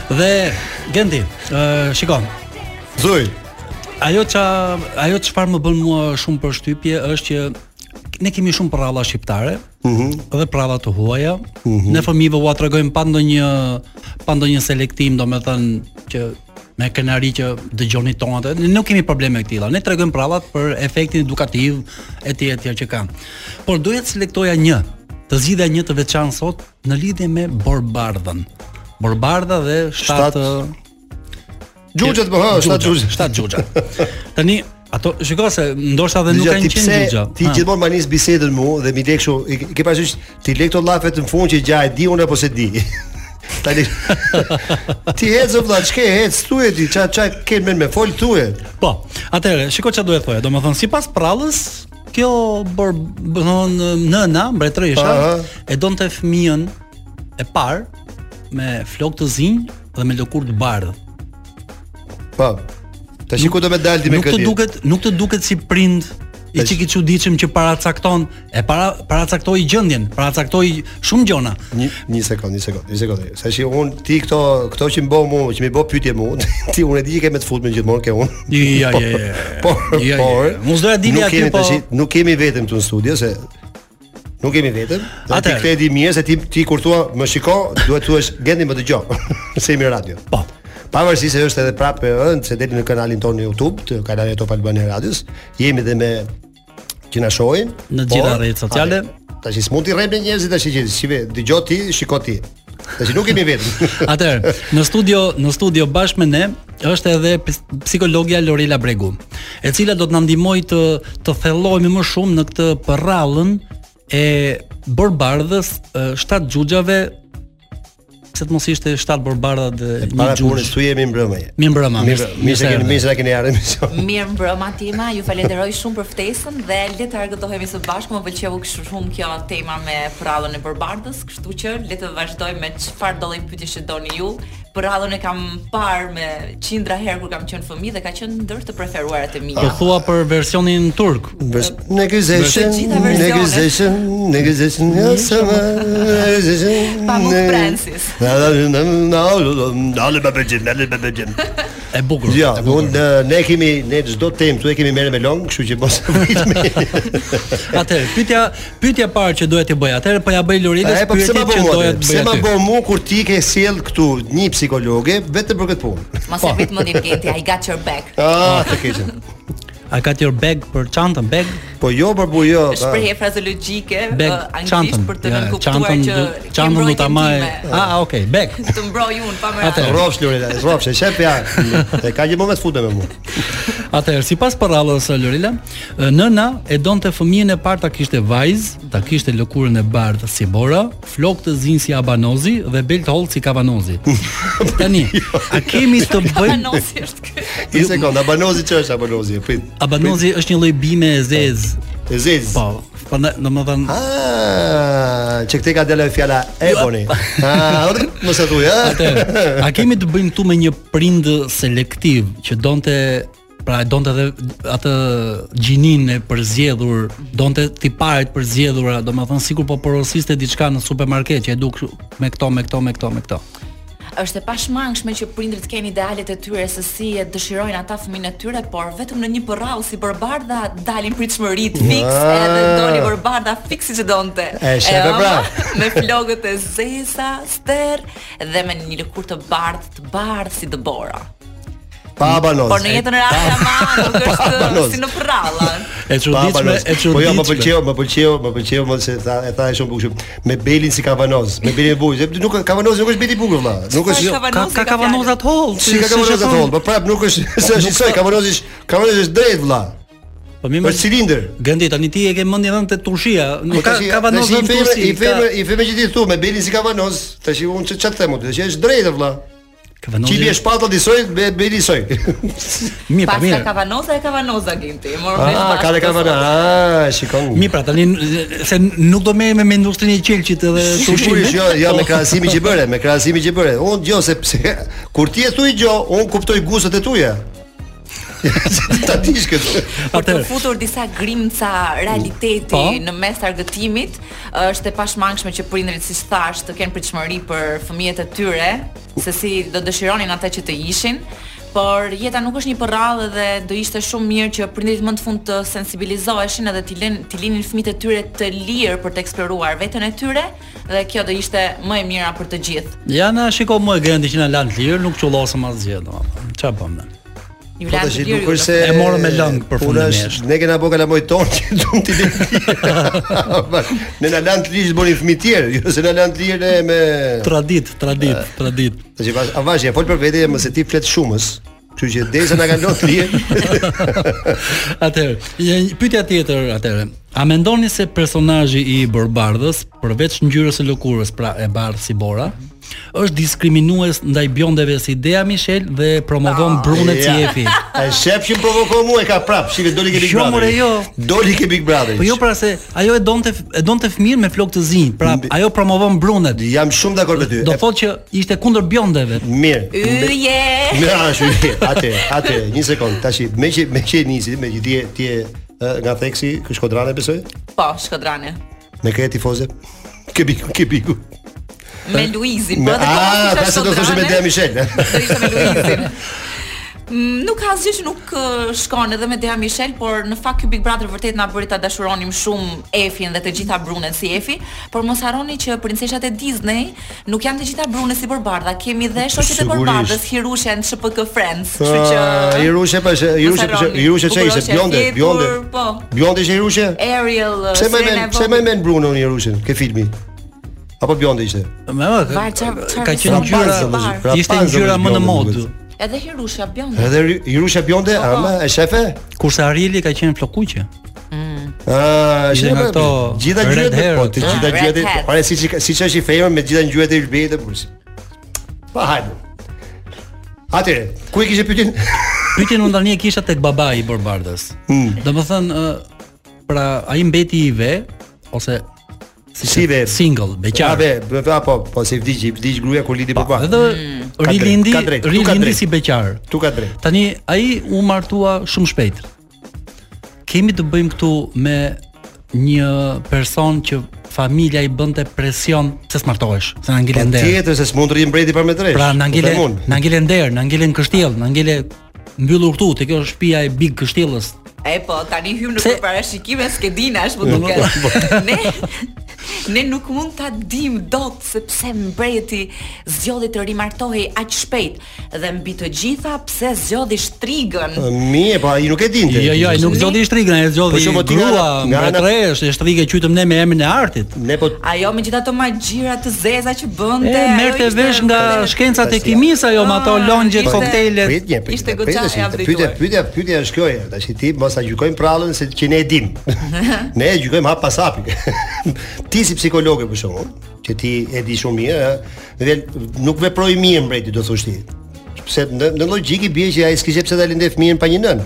A: dhe Genti, uh, shikon.
B: Zuj.
A: Ajo ça ajo çfarë më bën mua shumë përshtypje është që ne kemi shumë prralla shqiptare,
B: Mhm.
A: dhe prralla të huaja. Ne fëmijëve u tregojmë pa ndonjë pa ndonjë selektim, domethënë që me kënaqëri që dëgjoni tonat. Ne nuk kemi probleme me këtilla. Ne tregojmë prrallat për efektin edukativ etj etj që kanë. Por doja të selektoja një, të zgjidhja një të veçantë sot në lidhje me Borbardhën. Borbardha dhe
B: Shtatë-
A: shtatë
B: Gjurgjët po, ha, shtat gjurgjë.
A: Shtat gjugja. Tani ato shikoj se ndoshta edhe nuk
B: Dëgjoj,
A: kanë
B: ti
A: qenë
B: pse
A: gjugja.
B: Ti gjithmonë ma nis bisedën mu dhe mi lek kështu, i ke- ke parasysh ti lek to llafe të në fund që gjaj di unë apo se di. Tani ti ecë vëlla, çka ec, thuje ti, ça ça ke mend me fol thuje.
A: Po, atëherë shikoj çfarë duhet thoya. Domethënë sipas prallës kjo bor, domethënë nëna, mbretëresha
B: Aha.
A: e donte fëmijën e parë me flokë të zinj dhe me lëkurë të bardhë.
B: Po. Tash ku do me dal ti me
A: Nuk
B: këtë?
A: të
B: ditë?
A: duket, nuk të duket si prind i
B: Tash-
A: çik i çuditshëm që paracakton, e para paracaktoi gjendjen, paracaktoi shumë gjona.
B: Një, një sekond, një sekond, një sekond. Sa që un ti këto këto që më bë mu, që më bë pyetje mu, ti unë e di që ke me të futme gjithmonë ke unë.
A: Ja, ja, ja.
B: Por,
A: Ja, ja,
B: po, por.
A: ja. Mos doja dili
B: nuk
A: aty,
B: kemi
A: po-
B: tash- Nuk kemi vetëm këtu në studio se nuk kemi vetëm. Dhe ti
A: Atëherë.
B: këtë e di mirë se ti ti kur thua më shiko, duhet thua gjendi më dëgjoj. se jemi radio.
A: Po.
B: Pavarësisht se është edhe prapë ëh, se deli në kanalin tonë në YouTube, të kanalin Top Albania Radios, jemi dhe me që na shohin
A: Në
B: por-
A: gjitha rrjetet sociale.
B: Atëherë, Tash s'mund ti rrepni njerëzit tash që shive, dëgjoj ti, shiko ti. Tash nuk kemi vetëm.
A: Atëherë, në studio, në studio bashkë me ne është edhe ps- psikologja Lorela Bregu, e cila do të na ndihmojë të të thellohemi më shumë në këtë përrallën e borbardhës e, shtat xhuxhave se të mos ishte shtat borbardha dhe një
B: Para punës
A: xhuxh.
B: tu jemi mbrëmë. je.
A: Mirë mbrëma.
B: Mirë, mirë se keni, mirë se na keni ardhur në emision.
C: Mirë mbrëma Tima, ju falenderoj shumë për ftesën dhe le të argëtohemi së bashku, më pëlqeu kështu shumë kjo tema me përrallën e përbardhës, kështu që le të vazhdoj me çfarë do lloj pyetjesh që doni ju. Përrallën e kam parë me qindra herë kur kam qenë fëmijë dhe ka qenë ndër të preferuarat e
A: Po
C: mia.
A: thua për versionin turk.
B: Vers negëzeshen,
C: Të gjitha versionet.
B: negëzeshen, negëzeshen, sama, negëzeshen.
C: Pamuk
B: ne-
C: Francis.
B: Na na na na na na bëjë, na na bëjë.
A: E bukur.
B: Ja, unë eh, ne kemi ne çdo temë, tu e kemi merë me long, kështu që mos pritni.
A: Atëherë, pyetja pyetja e parë që doja të bëj. Atëherë po ja bëj Lorelës
B: E po pse ma
A: pyetjet
B: bë
A: që
B: mua?
A: doja
B: atë?
A: të
B: Pse
A: bëj.
B: ma
A: aty.
B: bë mua kur ti ke sjell këtu një psikologe vetëm për këtë punë?
C: Mos e vit mendin Genti, I got your back.
A: Po,
B: Ah, të keqen.
A: A ka your bag për çantën, bag?
B: Po jo, por po jo. ah.
C: Shprehje frazologjike
A: Bag,
C: ë, anglisht për të nën kuptuar që
A: do- çantën
C: ke
A: do ta
C: mbrojtjen
A: maj.
C: time.
A: Ah, okay, bag.
C: Të mbroj unë pa më
A: Atëherë.
C: radhë.
B: Rrofsh Lorela, rrofsh, e shep ja. E ka një moment futem me mua.
A: Atëherë, sipas parallës së Lorela, nëna e donte fëmijën e parë ta kishte vajzë, ta kishte lëkurën e bardhë si Bora, flokë të zinj si Abanozi dhe bel të hollë si Kavanozi. Tani, a kemi të bëjmë
C: Kavanosi është ky.
B: Një sekondë, Abanozi ç'është Abanozi? Prit.
A: Abanozi është një lloj bime e zezë.
B: E zez.
A: Po, prandaj domethënë
B: Ah, që këte ka delë fjala
A: Jo.
B: Eboni. Ah, rr, mos e thuj, ha?
A: Atëherë, a kemi të bëjmë këtu me një prind selektiv që donte pra e donte edhe atë gjinin e përzjedhur, donte tiparet përzjedhura, domethënë sikur po porosiste diçka në supermarket që e duk me këto, me këto, me këto, me këto.
C: është e pashmangshme që prindrit kanë idealet e tyre se si e dëshirojnë ata fëmijën e tyre, por vetëm në një përrau si bërbardha dalin pritshmërit fiks
B: Ah.
C: edhe doli bërbardha fiks siç donte.
B: E shepe
C: ëma,
B: pra.
C: Me flokët e zeza, ster dhe me një lëkurë të bardhë, të bardhë si dëbora.
B: Pa Abanoz.
C: Por në jetën e rrallë ama nuk është
B: banos.
C: si në përralla.
A: E çuditshme, e çuditshme.
B: Po jo, më pëlqeu, më pëlqeu, më pëlqeu, më se tha, e tha e shumë bukur. Me belin si Kavanoz, me belin e bukur. Se Nuk Kavanoz nuk është beli i bukur valla. Nuk
C: Çfarë
B: është
C: ka-
A: Ka ka kavanozat holl.
B: Si ka Kavanoz atë, po prap nuk është se është i soj Kavanoz është Kavanoz është drejt valla.
A: Po më
B: Për cilindër.
A: Gëndi tani ti e ke mendjen dhënë te Turqia, nuk ka
B: Tashi-
A: ka vanoz
B: tashi i
A: në
B: femër-
A: Turqi.
B: I femër, i femër që ti thua me Beni si Kavanoz, tash unë ç'të them unë, që është drejtë vëlla.
A: Ka vanoz.
B: Çi bie shpatën i soj, be- Beni i soj.
A: Mirë, po
C: Pas ka
A: mirë.
C: kavanoza e kavanoza genti. Morë vesh
B: Ah,
C: bashkë
B: ka dhe
C: të
B: Kavana. Ah, shikon.
A: Mirë, pra tani n- se nuk do merrem me industrinë e qelçit edhe Po,
B: Sigurisht jo, jo me krahasimin që bëre, me krahasimin që bëre. Unë dëgjoj se pse kur ti e thuj gjë, unë kuptoj gustet e tuaja. Ta dish këtë.
C: Për të
A: Atëherë,
C: futur disa grimca realiteti
A: Po.
C: në mes argëtimit, është e pashmangshme që prindrit siç thash të kenë pritshmëri për fëmijët e tyre, se si do dëshironin ata që të ishin, por jeta nuk është një përradhë dhe do ishte shumë mirë që prindrit më të fund të sensibilizoheshin edhe t'i lënë t'i linin fëmijët e tyre të lirë për të eksploruar veten e tyre dhe kjo do ishte më e mira për të gjithë.
A: ja na shiko më e gëndi që na lan të lirë, nuk qullosëm asgjë domethënë. Çfarë bëm ne?
C: Ju
B: Po
C: lanë
B: tash
C: të lirë.
B: nuk
C: ju
B: është se
A: E morëm me lëng përfundimisht.
B: Puna është, Ne kena bëu kalamoj ton që duam t'i lënë. Ne na lan të lirë të bënin fëmijë tjerë, jo se na lan të lirë ne me
A: Tradit, tradit,
B: Eh.
A: tradit.
B: Tash pas avash e fol për vete mos e ti flet shumës. Kështu që derisa na kanë lënë të lirë,
A: Atëherë, një pyetja tjetër atëherë. A mendoni se personazhi i Borbardhës, përveç ngjyrës së lëkurës, pra e bardh si Bora, është diskriminues ndaj biondeve si Dea Michel dhe promovon brunet si
B: Ah, Ja.
A: Efi?
B: e shef që më provokon mua e ka prap, shive doli ke Big
A: Jo,
B: Brother.
A: more, jo.
B: Doli ke Big Brother.
A: Po jo pra se ajo e donte e donte fëmijën me flokë të zi, pra ajo promovon brunet.
B: Jam shumë dakord me ty.
A: Do
B: E,
A: thotë që ishte kundër biondeve.
B: Mirë.
C: Yje!
B: Mirë, ashu. Atë, atë, një sekond. Tash, me që me që nisi, me që ti je- ti je ë, nga theksi, kë shkodrane besoj?
C: Po, Shkodrani.
B: Me kë je tifoze? Ke biku, ke biku.
C: Me Luizin,
B: Me,
C: po edhe po mos
B: a,
C: isha
B: ta Ah, pra se do të thoshim me
C: Shkodrane.
B: Dea Michel.
C: Do ishte me Luizin. Mm, Nuk ka asgjë që nuk ë, shkon edhe me Dea Michel, por në fakt ky Big Brother vërtet na bëri ta dashuronim shumë Efin dhe të gjitha Brunen si Efi, por mos harroni që princeshat e Disney nuk janë të gjitha Brune si Borbardha, kemi dhe shoqet e
B: Sigurisht.
C: Borbardhës Hirusha në SPK Friends, kështu që
B: Ah, Hirushe pa, Hirushe,
C: Mos harroni.
B: Hirushe çe po, ishte
C: Bukuroshe
B: bjonde,
C: e
B: bjonde.
C: fjetur, po.
B: Bjonde ishte Hirushe?
C: Ariel ë,
B: Pse më men,
C: Serena e
B: pse më
C: vogël.
B: men Bruno në Hirushin, ke filmi? Apo bjonde ishte?
A: Më më
C: Bar, çfarë- çfarë
A: ka qenë
C: vision?
A: ngjyra
B: Rapunzel
C: Bar.
B: është,
A: ishte
B: Rapunzel
A: ngjyra
B: është
A: më në
B: bjonde,
A: modë.
B: duket.
C: Edhe Hirusha bjonde.
B: Edhe Hirusha bjonde, ama e shefe?
A: Kurse Arieli ka qenë flokuqe.
B: Ah,
A: Ishte
B: ishte
A: nga
B: nga
A: ato
B: gjitha
A: red
B: ngjyrat,
A: hair.
B: po të
C: Ah,
B: gjitha
C: red
B: ngjyrat,
C: hair.
B: pare siç i ka- siç është i femër me gjitha ngjyrat e Elbejit e Bursit. Pa hajde. Atëre, ku e kishe pyetjen?
A: Pyetjen unë tani e kisha tek babai i Borbardës. Mm. Domethënë ë, pra ai mbeti i ve ose
B: Si ve?
A: single,
B: A
A: beqar.
B: be, be- be- apo, po se vdiq, vdiq gruaja po, kur lidi për pa.
A: Po, Edhe
C: Mm.
B: Ka drejt,
A: rilindi,
B: ka drejt, tu ka
A: rilindi
B: drejt.
A: si beqar.
B: Tu ka drejt.
A: Tani ai u martua shumë shpejt. Kemi të bëjmë këtu me një person që familja i bënte presion se smartohesh, se na ngelen der.
B: Po, Tjetër se s'mund të rrim breti për me dresh.
A: Pra na
B: Po, them
A: ngelen,
B: unë.
A: na ngelen der, na ngelen kështjell, na ngele mbyllur këtu te kjo shtëpia e Big Kështjellës.
C: E po, tani hym në
A: Pse-
C: përparashikime skedina, është më po
A: Po,
C: duket. ne ne nuk mund ta dim dot sepse mbreti zgjodhi të rimartohej aq shpejt dhe mbi të gjitha pse zgjodhi shtrigën.
B: Mirë, po ai nuk e dinte.
A: Jo, jo, ai nuk
C: Ne-
A: zgjodhi shtrigën, ai zgjodhi
B: Po, që po ti nga-
A: grua,
B: nga ana-
A: mbretëresh, e shtrigë qytëm ne me emrin e artit.
B: Ne po
C: Ajo me gjitha ato magjira të zeza që
A: E
C: bënte,
A: merrte
C: ishte-
A: vesh nga
C: Dhe-
A: shkencat e
B: Tasia.
A: kimisë ajo me ato
C: Ah,
A: longjet,
C: ishte-
A: koktejlet.
B: Prit një, prit.
C: Ishte
B: një,
C: goxha
B: prit, tash,
C: e
B: të Pyetja,
C: updateuar.
B: pyetja, pyetja është kjo. e, Tash ti mos ta gjykojmë prallën se që ne e dim. ne e gjykojmë hap pas hapi. ti si psikologe për shembull, që ti e di shumë mirë, ë, dhe nuk veproi mirë mbreti do thosh ti. Pse në, në logjik i bie që ai s'kishte pse ta lindë fëmijën pa një nën.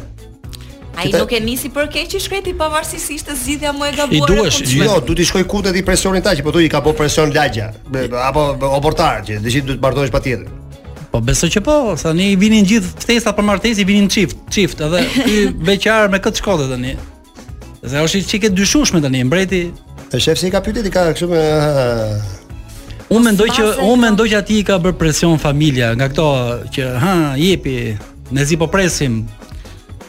C: Ai nuk e nisi për keq i shkreti pavarësisht se ishte zgjidhja më e gabuar. e
A: duhesh,
C: mundshme.
B: Jo, du t'i shkoj kutet i presionin ta që po thuj i ka po presion lagja be- be- apo be- oportar që dëshit du të martohesh patjetër.
A: Po besoj që po, sa ne i vinin gjithë ftesa për martesë, i vinin çift, çift, edhe ky beqar me këtë shkollë tani. Se është i çike dyshueshme tani, mbreti.
B: E shef se i ka pyetit i ka kështu me "Ah,
A: Unë mendoj që
C: Spase-
A: unë mendoj që aty i ka bërë presion familja nga këto që ha, jepi, ne zi po presim.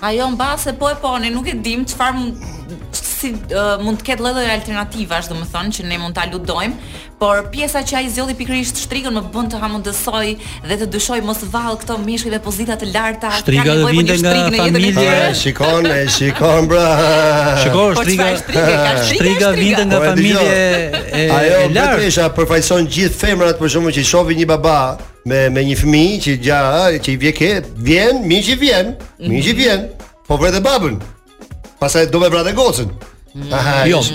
C: Ajo mbase po e poni, nuk e dim çfarë mund si ë, mund të ketë lloj-lloj alternativash, domethënë që ne mund ta ludojmë, por pjesa që ai zgjodhi pikërisht shtrikën më bën të hamundësoj dhe të dyshoj mos vall këto mishkë dhe pozita të larta.
A: Shtriga dhe
C: kanë nevojë për një
A: vinte nga
C: shtrikë në jetën e
A: familje.
C: tyre.
B: E shikon, e shikon bra.
A: Shiko,
C: Po
A: shtriga
C: çfarë shtrigë ka? Shtriga,
A: shtriga vinte nga
B: Po, e
A: familje e,
B: Ajo
A: e lartë.
B: betesha përfaqëson gjithë femrat për shkakun që i shohin një baba me me një fëmijë që gja që i vjen ke, vjen, miq i vjen, miq i vjen, po vret e babën. Pastaj do me vratë gocën. Aha,
A: Jo.
B: ish.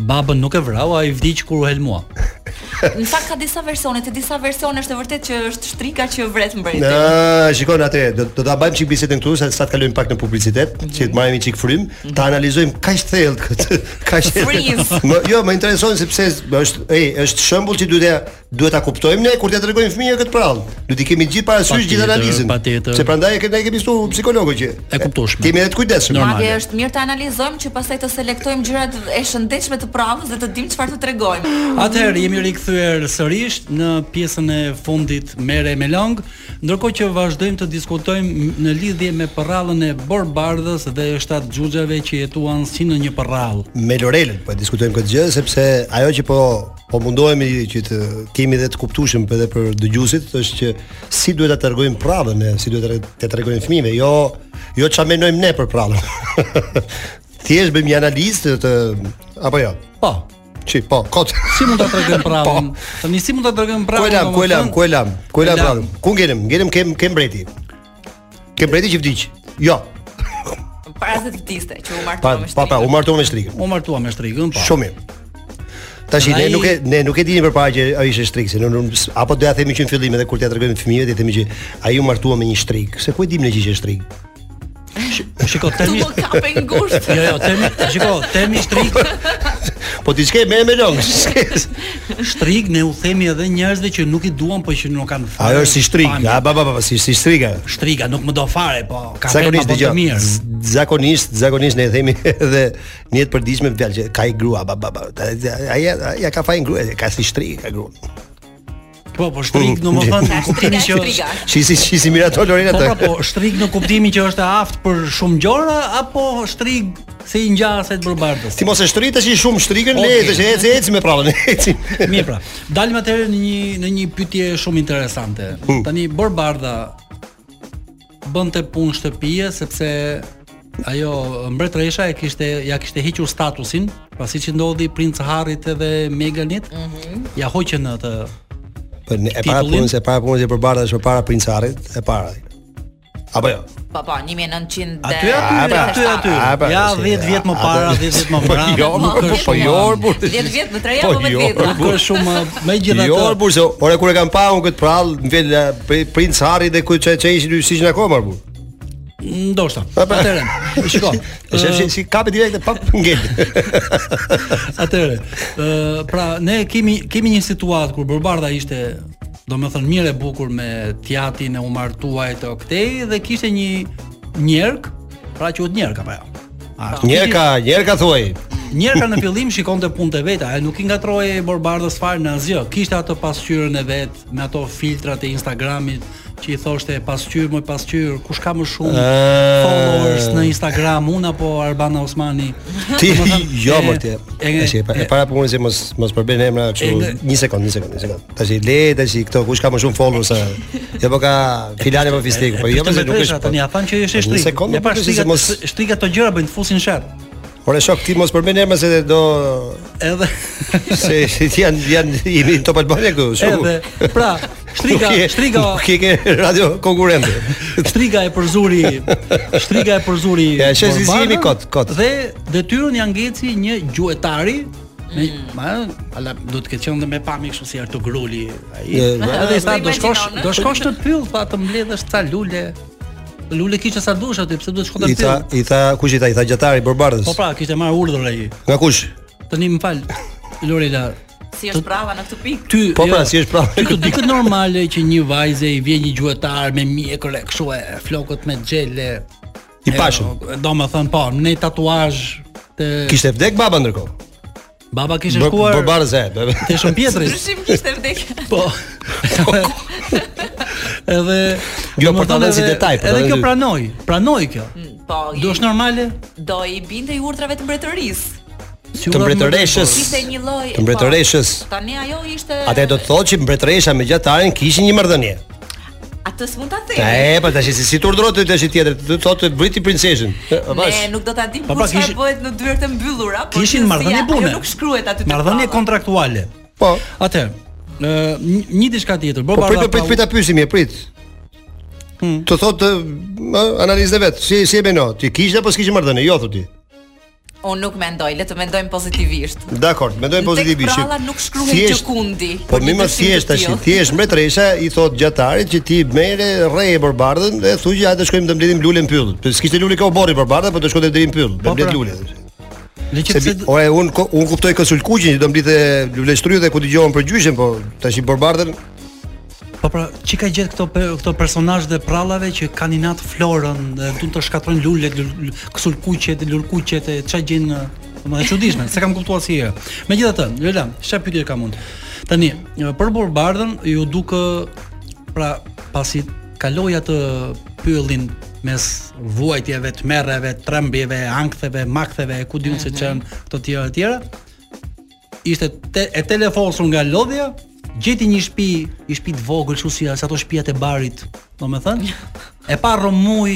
A: Babën nuk e vrau, ai vdiq kur u helmua.
C: Në fakt ka disa versione, te disa versione është e vërtet që është shtrika që vret mbreti.
B: Na, shikon atë, do, do ta bëjmë çik bisedën këtu se sa të kalojmë pak në publicitet, që të marrim një çik frym, ta analizojmë kaq thellë këtë, kaq.
C: Freeze.
B: Më, jo, më intereson sepse është, ej, është shembull që duhet ja duhet ta kuptojmë ne kur t'ia tregojmë fëmijëve këtë prallë. Duhet i kemi gjithë parasysh gjithë
A: Patjetër,
B: analizën.
A: patjetër.
B: Se prandaj e kemi ne kemi studiu psikologu që
A: E kuptueshme.
B: Kemi edhe të kujdesshëm.
A: Normal.
C: Madje është mirë të analizojmë që pastaj të selektojmë gjërat e shëndetshme të pravës dhe të dimë çfarë të tregojmë.
A: Atëherë jemi rikthyer sërish në pjesën e fundit mere me lang, ndërkohë që vazhdojmë të diskutojmë në lidhje me përrallën e Borbardhës dhe shtat xhuxhave që jetuan si në një përrall.
B: me Lorelën po e diskutojmë këtë gjë sepse ajo që po po mundohemi që të kemi dhe të kuptueshëm edhe për dëgjuesit është që si duhet ta tregojmë prallën, ne, si duhet ta- ta tregojmë fëmijëve, jo jo çfarë mendojmë ne për prallën. Thjesht bëjmë një analizë të, të apo jo.
A: Po,
B: Çi, po, kot.
A: si mund ta tregojmë prallën?
B: Po.
A: Tani si mund ta tregojmë
B: Ku e
A: prallën?
B: lam, ku e lam,
A: domethënë?
B: ku e lam, ku
A: Ku e
B: e lam
A: lam?
B: prallën. Ku ngelëm? Ngelëm kem kem breti. Kem breti që vdiq. Jo.
C: Para se të vdiste që u
B: Pa
A: Po,
C: martuam
B: pa,
C: me
B: pa
C: shtrikën.
B: u
A: U
B: martuam me shtrikën.
A: martua me shtrigën, po.
B: Shumë mirë. Tash ne
A: Ai-
B: nuk e ne nuk e dini përpara që ai ishte shtrik, se ne nuk apo doja themi që në fillim edhe kur t'ia tregojmë fëmijëve, t'ia themi që ai u martua me një shtrik. Se ku e dim ne që ishte shtrik?
A: Shiko
C: Tu
A: temi.
C: më kape ngushtë.
A: Jo, jo, temi, shiko, temi shtrik,
B: Po ti s'ke merr me long. s'ke.
A: shtrik ne u themi edhe njerëzve që nuk i duan po që nuk kanë fare.
B: Ajo është si shtrik.
A: pamje.
B: A ba ba ba, ba si si shtrika.
A: Shtriga nuk më do fare, po ka vema
B: Zakonisht
A: po të
B: dëgjoj. Mm.
A: mirë.
B: z- Zakonisht, zakonisht ne e themi edhe në jetë përditshme fjalë që ka i grua ba ba ba. Ai ai ja ka fajin grua, ka si shtrik ka grua.
A: Po, po
B: Mm.
A: shtrik në më thënë,
C: Ka
A: në kuptimin që
C: shtriga,
A: është...
C: shtriga.
B: Shisi shisi mirator Lorena
A: Po,
B: të.
A: pra, po, shtrik në kuptimin që është e aftë për shumë gjora, apo shtrik se i ngjasë të bërbardës?
B: Ti mos e shtrit tash i shumë shtrikën, le
A: Okej.
B: të ecë ecë me prallën, ecë.
A: Mirë pra, dalim atëherë në një në një pyetje shumë interesante.
B: Mm.
A: Tani Borbardha bënte punë shtëpie sepse ajo mbretëresha e kishte ja kishte hequr statusin, pasi që ndodhi princ Harrit edhe Meganit, ja hoqën atë.
B: Po ne- e para
A: Titullin?
B: punës, e para punës e përbarta është përpara princarit, e para. Apo jo.
C: Po po, 1900
A: Aty aty
C: dhe-
B: A, pra,
A: aty aty.
B: a, pra,
A: Ja
B: si,
A: 10 vjet më
B: a,
A: para,
B: atë-
A: 10 vjet më
B: Po,
A: mbrapa.
B: jo,
A: nuk
B: po,
A: është
B: po,
A: shumë
B: jo,
A: anë.
B: burr.
C: 10 vjet më tre
B: Po,
C: apo me
B: jo,
C: vjetra.
A: Nuk është shumë
B: Jo,
A: megjithatë.
B: burse, ora kur e kam pa unë këtë prall, më vjen la, pri- princ Harri dhe ku çe çe ishin si ishin akoma bu.
A: Ndoshta.
B: pa.
A: Atëherë, shiko.
B: E shef si, si kapi direkt e pa ngel.
A: Atëherë, ë pra ne kemi kemi një situatë kur Borbardha ishte domethënë mirë e bukur me tjatin e umartuaj të Oktej dhe kishte një njerëk, pra quhet njerëk apo jo. A,
B: Njerë ka, njerë ka thuaj.
A: Njerëka në fillim shikonte punë të veta, ai nuk i ngatroje Borbardhës fare në asgjë. Kishte atë pasqyrën e vet, me ato filtrat e Instagramit që i thoshte pasqyrë më pasqyrë, kush ka më shumë
B: Ah.
A: followers në Instagram, unë apo Arbana Osmani.
B: Ti
A: Domethënë,
B: jo
A: e-
B: më ti.
A: e-
B: Tash e pa- e
A: e-
B: para punës e mos mos përbën emra kështu.
A: E nga-
B: Një sekond, një sekond, një sekond. Tash i le tash i këto kush ka më shumë followers. a- Jo po ka filane po fistik, po jo më se nuk
A: Vetresha,
B: është. po-
A: Tani ja thanë që është shtrik.
B: Një sekondë,
A: e pa
B: po, pse
A: shtrikat,
B: se
A: mos...
B: mos-
A: shtrikat të gjëra bëjnë të fusin shat.
B: Por e shok ti mos përmend emra se do
A: Edhe
B: se janë janë jemi në Top Albania këtu shumë.
A: edhe pra, shtrika,
B: Nuk je-
A: shtrika,
B: Nuk je ke radio konkurrente.
A: shtrika e përzuri, shtrika e përzuri.
B: Ja, shes si
A: Borbarën,
B: jemi kot, kot.
A: Dhe detyrën ja ngeci një gjuetari Me, ma, ala, do të ketë qenë dhe me pami kështu si Artur Gruli ai.
B: Je, ma-
A: Edhe i tha
C: Po
A: do shkosh,
C: imagjinon,
A: do shkosh të pyll, tha të mbledhësh ca lule. Lule kishte sa dush aty, pse duhet shkote
B: I
A: të
B: tha
A: pyll?
B: i tha kush i tha i tha gjatari Borbardhës.
A: Po pra, kishte marrë urdhër ai.
B: Nga kush?
A: Tani më fal, Lorela,
C: Si është prava në këtë pikë?
A: ty jo,
B: Po pra, si është prapë.
A: Ty të duket normale që një vajze i vjen një gjuetar me mjekër e kështu e flokët me xhele.
B: I pashëm.
A: Do më thënë po, në tatuazh të
B: Kishte vdek baba ndërkohë.
A: baba kishte
B: Bor-
A: shkuar
B: Borbardhës e.
A: te Shën Pjetrit.
C: Ndryshim kishte vdekje.
A: Po. edhe
B: Jo,
A: domethënë
B: për ta dhënë si
A: edhe-
B: detaj, për ta
A: Edhe
B: dhënë
A: kjo
B: si-
A: pranoj, pranoj kjo.
C: Po, i-
A: Do është normale?
C: do i binte i urdhrave të mbretërisë.
A: Si
B: Të
A: urdhër më
B: mbretëreshës.
A: tepër.
C: Ishte një lloj
B: Të mbretëreshës.
C: po, Tani ajo ishte
B: Atë do të thotë që mbretëresha me gjatarin kishin një marrëdhënie.
C: Atë s'mund ta
B: Ta
C: themi.
B: e, po tash si si të urdhërohet ti tash tjetër, do të thotë briti princeshën. E, bash.
C: Ne nuk do ta dim
A: Po,
C: kur
A: pra,
C: çfarë
A: kishin-
C: bëhet në dyert e mbyllura, po
A: Kishin
C: gjithsesi,
A: marrëdhënie
C: ajo
A: pune.
C: Nuk shkruhet aty te.
A: Marrëdhënie
C: prava.
A: kontraktuale.
B: Po.
A: Atë, ë një- një diçka tjetër.
B: Po prit,
A: Barbara
B: prit, prit,
A: Pau-
B: prit ta pyesim je, prit.
A: Hmm.
B: Të thotë ë, analizë vet, si si e beno, ti kishte apo s'kishe marrëdhënie? Jo thotë ti.
C: Unë nuk mendoj, le të mendojmë pozitivisht.
B: Dakor, mendojmë pozitivisht.
C: Tek pralla nuk shkruhet
B: Thjesht-
C: gjëkundi,
B: Po
C: për
B: mi
C: një
B: më
C: dëshim të
B: thjesht tash,
C: tillë.
B: thjesht mbretresha i thot gjatarit që ti merre rre e përbardhën dhe thuj që hajde shkojmë të mbledhim lule në pyll. Po s'kishte lule ka u borri përbardhë, po do shkonte deri në pyll,
A: Po,
B: do mbledh
A: pra.
B: lule.
A: Le që
B: Se
A: pse
B: bi- ore un ko- un kuptoj konsul kuqin që do mblidhe lule shtryu dhe ku dëgjohen për gjyshin, po tash i përbardhën
A: po pra çi ka gjetë këto pe- këto personazhe dhe prallave që kanë inat florën dhe duan të shkatrojnë lulet, lul- lul- kësul kuqet, lul kuqet, e çfarë gjën domethënë çuditshme, se kam kuptuar si herë. Megjithatë, Lela, çfarë pyetje kam unë? Tani, e, për Borbardhën ju duk e, pra pasi kaloi atë pyllin mes vuajtjeve, tmerreve, trembjeve, anktheve, maktheve, ku diun se çan këto tjera e tjera, ishte te, e telefosur nga lodhja, gjeti një shtëpi, një shtëpi të vogël, kështu si as ato shtëpiat e barit, domethënë. E pa rrëmuj,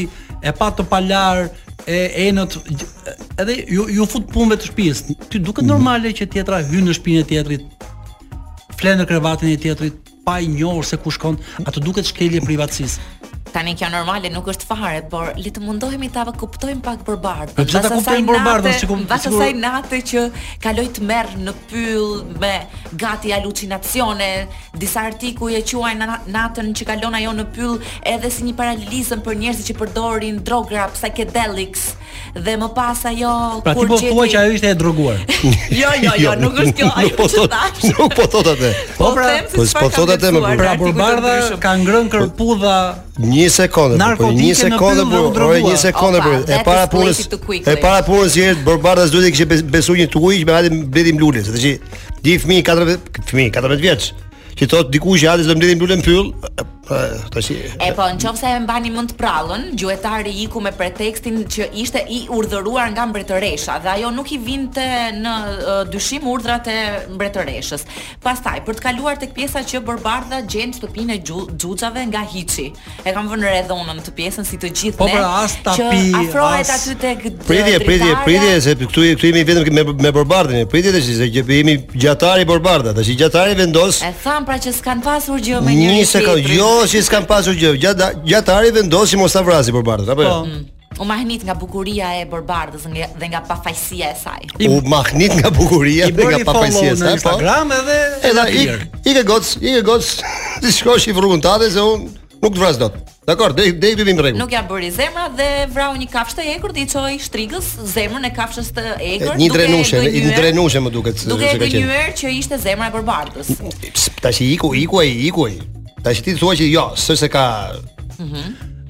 A: e pa të palar, e enët gj- edhe ju ju fut punëve të shtëpisë. Ty duket normale që tjetra hyn në shtëpinë e tjetrit, flen në krevatin e tjetrit, pa i njohur se ku shkon, atë duket shkelje privatësisë.
C: Tani kjo normale nuk është fare, por le të mundohemi ta kuptojmë pak përbardhën.
A: Po pse ta
C: Mbas asaj
A: kuptojmë përbardhën,
C: nate-
A: sikur-
C: mbas
A: sikur-
C: asaj natë që kaloj të merr në pyll me gati alucinacione, disa artikuj e quajnë na- natën që kalon ajo në pyll edhe si një paralizëm për njerëzit që përdorin drogra, psychedelics dhe më pas ajo
A: Pra ti po thua që ajo ishte e droguar. Pra,
C: Jo, jo, jo, nuk është kjo ajo
B: nuk po
C: që
B: thot-
C: thash.
B: Nuk po thot atë.
A: Po, pra,
C: them se
B: po
C: çfarë
B: s'po
C: kam
B: thot atë, më
C: lexuar,
B: bërë.
A: Pra
C: artikuj të
A: Borbardha
C: ndryshëm.
A: ka ngrënë kërpudha
B: Një sekondë, po
A: Narkotike
B: një
A: në
B: sekondë
A: pyll
B: po,
A: dhe u
B: ore
A: drogua.
B: një sekondë
C: Opa,
B: po. E
C: that
B: para
C: escalated
B: punës,
C: too quickly.
B: e para punës që është Borbardas duhet të kishte bes- besuar një tuj që me hajde mbledhim lule, se tash di fëmijë 14 fëmijë 14 vjeç që thot dikush që hajde se do mbledhim lule në pyll, tash
C: E po, në qofë se e mbani mund të prallën, gjuetari iku me pretekstin që ishte i urdhëruar nga mbretëresha dhe ajo nuk i vinte në ë, dyshim urdhrat e mbretëreshës. Pastaj, për të kaluar tek pjesa që Borbardha gjen shtëpinë e gju- xhuxhave nga Hiçi. E kam vënë re dhe unë në të pjesën si të gjithë
A: Po,
C: ne.
A: pra, as tapi,
C: që afrohet
A: as-
C: aty tek d-
B: Pritje, pritje,
C: dritarja.
B: pritje se këtu këtu jemi vetëm me me Borbardin, pritje tash se që jemi gjatari Borbarda, tash gjatari vendos
C: E tham pra që s'kan pasur gjë me njëri
B: Një sekondë,
C: tjetrin.
B: jo që s'kan pasur gjë. gjata- Gjatari vendosi mos ta vrasi Borbardën, apo jo?
A: Po.
C: U mahnit nga bukuria e Borbardës nga- dhe nga pafajësia e saj.
A: I-
B: U mahnit nga bukuria
A: i
B: dhe nga
A: bëri follow
B: papajësia,
A: në
B: sa po.
A: Instagram edhe
B: Edhe
A: edhe
B: ik,
A: tjerë.
B: ik e goc, ik e goc. Ti shkosh i rrugën tate se un nuk të vras dot. Dakor, deri deri këtu vim rregull.
C: Nuk ja bëri zemra dhe vrau një kafshë të egër, i çoi shtrigës zemrën e kafshës të egër.
B: Një
C: duke
B: drenushe,
C: e
B: një
C: gënjyer-
B: drenushe më duket se
C: Duke e
B: se ka qenë.
C: gënjyer që ishte zemra e përbardhës.
B: Ps, Tash i iku, iku ai, iku ai. Tash ti thua që jo, s'është se ka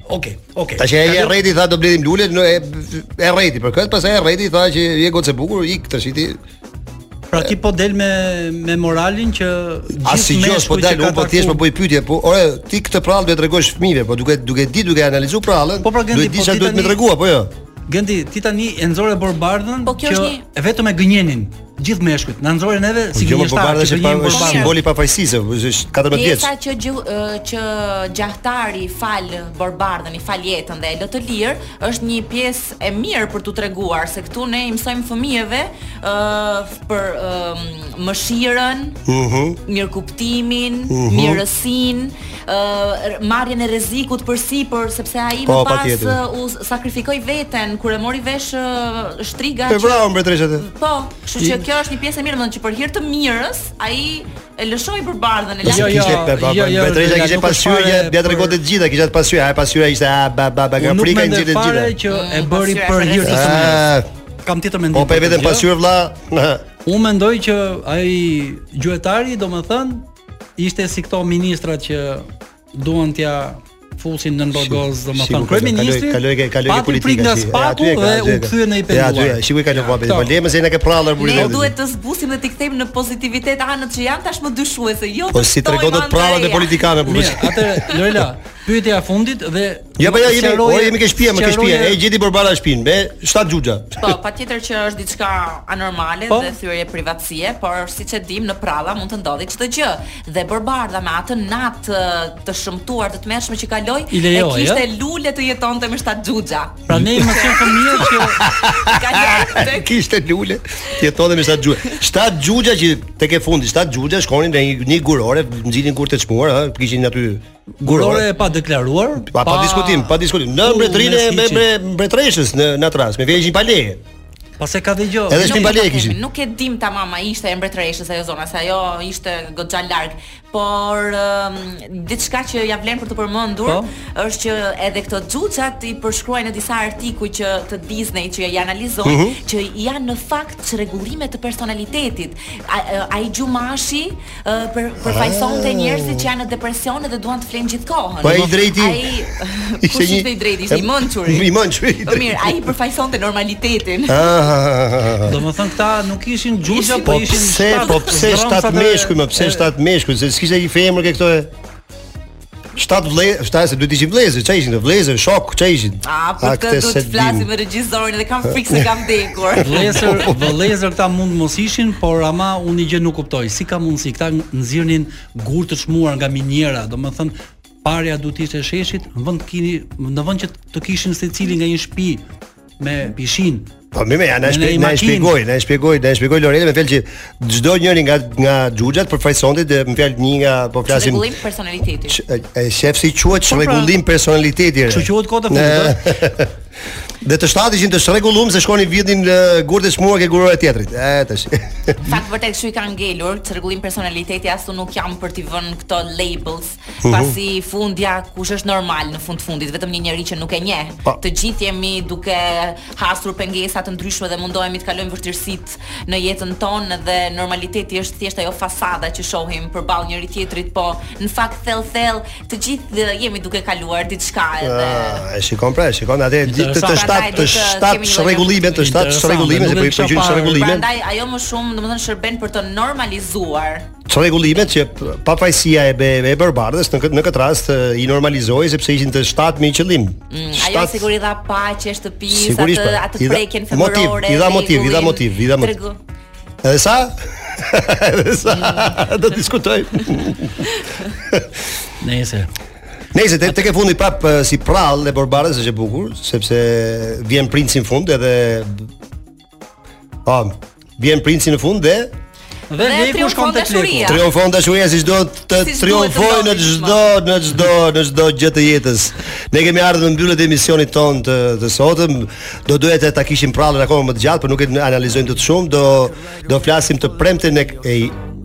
A: Okej, okej.
B: Tash ai e rreti tha do bledim lule, no, e e rreti për këtë, pastaj e rreti tha që je gocë e bukur, ik tash ti.
A: Pra ti po del me me moralin që
B: As si gjos po
A: meshkuj që
B: dal,
A: ka
B: un po thjesht po
A: taku-
B: bëj pyetje, po ore ti këtë prallë do të tregosh fëmijëve, po duke duke di, duke analizuar prallën,
A: Po, pra, Gendi,
B: duhet di
A: po,
B: çfarë
A: ti
B: duhet më
A: tani-
B: tregua, po jo.
A: Gëndi, ti tani e nxore Borbardhën
C: Po kjo
A: që
C: është një-
A: vetëm e gënjenin gjithë meshkujt. Na nxorën neve si
B: Si Po, më
A: gënjeshtar
B: Borbardha
A: që
B: është pa-
A: gënjenin
B: është
A: Borbardhën.
B: simboli i pafajësisë, po, është 14 vjeç.
C: Pjesa që gju, ë, që gjahtari fal Borbardhën, i fal jetën dhe e lë të lirë, është një pjesë e mirë për t'u treguar se këtu ne i mësojmë fëmijëve ë për ë, mëshirën,
B: Mhm.
C: mirëkuptimin, mirësinë, ë marrjen e rrezikut përsipër sepse ai
B: Po,
C: më pas
B: patjetër.
C: ë, u sakrifikoi veten kur e mori vesh ë, shtriga
B: Pe vrau mbretëreshat. e.
C: Po, kështu që kjo është një pjesë e mirë, domethënë që për hir të mirës, ai e lëshoi përbardhën, e la
A: Jo, jo,
B: Kishte pe- pa-
A: jo,
B: pa-
A: jo,
B: mbretëresha
A: Rela,
B: kishte
A: nuk është
B: pasqyrë,
A: fare
B: ja tregonte
A: për-
B: të gjitha, kishte pasqyrë, ai pasqyra ishte a ba ba ba nga
A: Unë nuk
B: Afrika i
A: mendoj
B: nxjerrte të
A: fare
B: gjitha.
A: që e
C: Mm,
A: bëri
C: pasqyra
A: për
C: e
A: hir të
C: fëmijës.
A: fëmijës.
B: Ah,
A: Kam tjetër mendim.
B: Po pe
A: për këtë
B: vetëm
A: gjë.
B: pasqyrë vlla.
A: Unë mendoj që ai gjuetari, domethënë, ishte si këto ministrat që duan t'ja fusin në ndogos,
B: Shiku,
A: domethënë
B: shiku,
A: kryeministri.
B: kaloi kaloi kaloi ke politika.
A: nga
B: si,
A: spaku
B: aty e ka,
A: dhe
B: aty
A: u
B: e ka.
A: kthye në i
B: Ja,
A: penduar.
B: aty e, shiku i kalon vapi.
A: këto.
B: Po lema se na ke prallë burin.
C: Ne duhet të zbusim dhe t'i kthejmë në pozitivitet anët që janë tashmë dyshuese, jo
B: Po si tregon do të prallat e politikanëve po.
A: Mirë, atëre Lorela, pyetja e fundit dhe
B: Ja po ja jemi,
A: sqaroje-
B: o jemi ke shtëpia, më ke shtëpia.
A: sqaroje-
B: E gjeti përbara shtëpinë me 7 xhuxha.
C: Po, patjetër që është diçka anormale
A: Po.
C: dhe thyrje privatësie, por siç e dim në pralla mund të ndodhi çdo gjë. Dhe Borbardha me atë natë ë, të shëmtuar të tmerrshme që kaloi,
A: I lejoi,
C: e kishte
A: ja?
C: lule të jetonte me shtat xhuxha.
A: Pra ne i mësojmë fëmijët që
C: Ka gjatë tek
B: Kishte lule, jetonte me 7 xhuxha. 7 xhuxha që tek e fundi, 7 xhuxha shkonin në një- një gurore, nxinin kur të çmuar, ha, kishin aty
A: gurore
B: gurore.
A: e pa deklaruar,
B: Pa, pa, diskutim, pa diskutim. Në
A: U,
B: mbretërinë
A: mes
B: me
A: hiçi.
B: me mbretreshës në në atras, me vjeshin pa leje.
A: Pas e ka dëgjoj.
B: Edhe
C: Nuk
B: shpi
C: e
B: balje
C: themi,
B: kishin.
C: Nuk e dim tamam a ishte e mbretëreshës ajo zona, se ajo ishte goxha larg, por um, diçka që ja vlen për të përmendur
A: Po.
C: është që edhe këto xhuxhat i përshkruajnë në disa artikuj që të Disney që i analizojnë
B: Mhm.
C: që janë në fakt çrregullime të personalitetit. A- e, Ai gjumashi e, për përfaqësonte
B: Ah.
C: njerëzit që janë në depresion dhe duan të flenë gjithkohën.
B: Po ai i drejti-
C: Ai kush ishte i drejti, ishte i mençuri.
B: I mençuri. i drejti.
C: Po Mirë, ai përfaqësonte normalitetin.
B: Ah.
A: Domethënë këta nuk ishin xhuxha,
C: Ishin-
A: po
B: Po
A: ishin
B: pse,
A: shtat-
B: po pse
A: zdromsat
B: shtat
A: e-
B: meshkuj, më pse
A: e-
B: shtat meshkuj, se s'kishte një femër ke këto e Shtat vlezë, shtat se duhet ishin vlezë, çfarë ishin këto vlezë, shok, çfarë ishin?
C: A, për këtë
B: këtë
C: duhet
B: se
C: të flasim
B: dim.
C: me regjisorin dhe kam frikë se kam vdekur.
A: Vëllëzër, vëllëzër këta mund mos ishin, por ama unë një gjë nuk kuptoj. Si ka mundësi këta nxirrnin gur të çmuar nga miniera, domethënë parja duhet ishte e sheshit, në vend të kini në vend që të kishin secili nga një shtëpi me pishin.
B: Po mirë, ja na
A: Në
B: shpjegoj, na
A: makinë.
B: shpjegoj, na shpjegoj, na shpjegoj Loreta me fjalë që çdo njëri nga nga xhuxhat përfaqësonte dhe me fjalë një nga po flasim
C: Rregullim personaliteti.
B: ç- e shef si quhet
A: Po, pra,
B: çrregullim personaliteti. re.
A: Kështu quhet kota fundit. po. ë?
B: Dhe të shtatë ishin të shregullum se shkonin vidhin gurtë shmuar ke gurore tjetrit. E tash.
C: Në fakt vërtet kështu i ka ngelur, çrregullim personaliteti as unë nuk jam për t'i vënë këto labels,
B: Mhm.
C: pasi fundja kush është normal në fund fundit, vetëm një njerëz që nuk e njeh.
B: Pa.
C: Të gjithë jemi duke hasur pengesa të ndryshme dhe mundohemi të kalojmë vështirësitë në jetën tonë dhe normaliteti është thjesht ajo fasada që shohim përballë njëri tjetrit, po në fakt thell thell të gjithë eh, jemi duke kaluar diçka edhe
B: Ah, e shikon pra, e shikon atë ditë të
A: Interesant.
B: shtatë të
C: Prandaj duhet të
B: shtatë
C: kemi një lloj
B: shregullime, të shtatë
A: Interesant,
B: shregullime se
A: nuk
B: po
A: e
B: i
A: kisha
B: përgjigj
A: parë.
B: shregullime,
C: Prandaj ajo më shumë, domethënë shërben për të normalizuar.
B: shregullime që p- pafajësia e be e bërbardës në këtë në këtë rast e, i normalizoi sepse ishin të shtatë me qëllim.
C: Mm, Ajo
B: Shtatë-
C: siguri dha paqe, shtëpisë,
B: Mm, Sigurisht,
C: atë
B: po.
C: atë
B: I dha-
C: prekjen
B: motiv,
C: femërore.
B: i dha motiv, i dha
C: rregullin,
B: motiv, i dha motiv.
C: tregu-
B: Edhe sa? Edhe sa?
C: Mm.
B: Do diskutojmë.
A: Nëse.
B: Nëse te tek e fundi prap e, si prall e Borbarës është e bukur, sepse vjen princi në fund edhe pa vjen princi në fund dhe
A: Dhe
C: Dhe
A: leku shkon
C: triumfon
A: tek
C: dashuria.
A: leku.
B: triumfon dashuria siç do të
C: Si s'duhet të
B: triumfojë në
C: ndodhi,
B: çdo në çdo në çdo gjë të jetës. Ne kemi ardhur në mbylljet e emisionit ton të, të sotëm. Do doja të ta kishim prallën akoma më të gjatë, por nuk e analizojmë të, të shumë. Do do flasim të premten e e,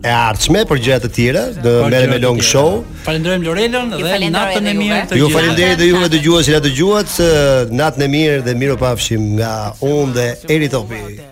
B: e ardhshme për gjëra të tjera, do merrem me long show.
A: Falenderojmë Lorelën dhe
C: falenderoj
A: natën
C: edhe
A: e mirë
C: juve.
A: të
B: Ju
A: gjithëve.
B: falenderoj dhe juve
C: Natën.
B: dëgjues që na dëgjuat, eh, natën e mirë dhe miropafshim nga unë dhe Eri Topi.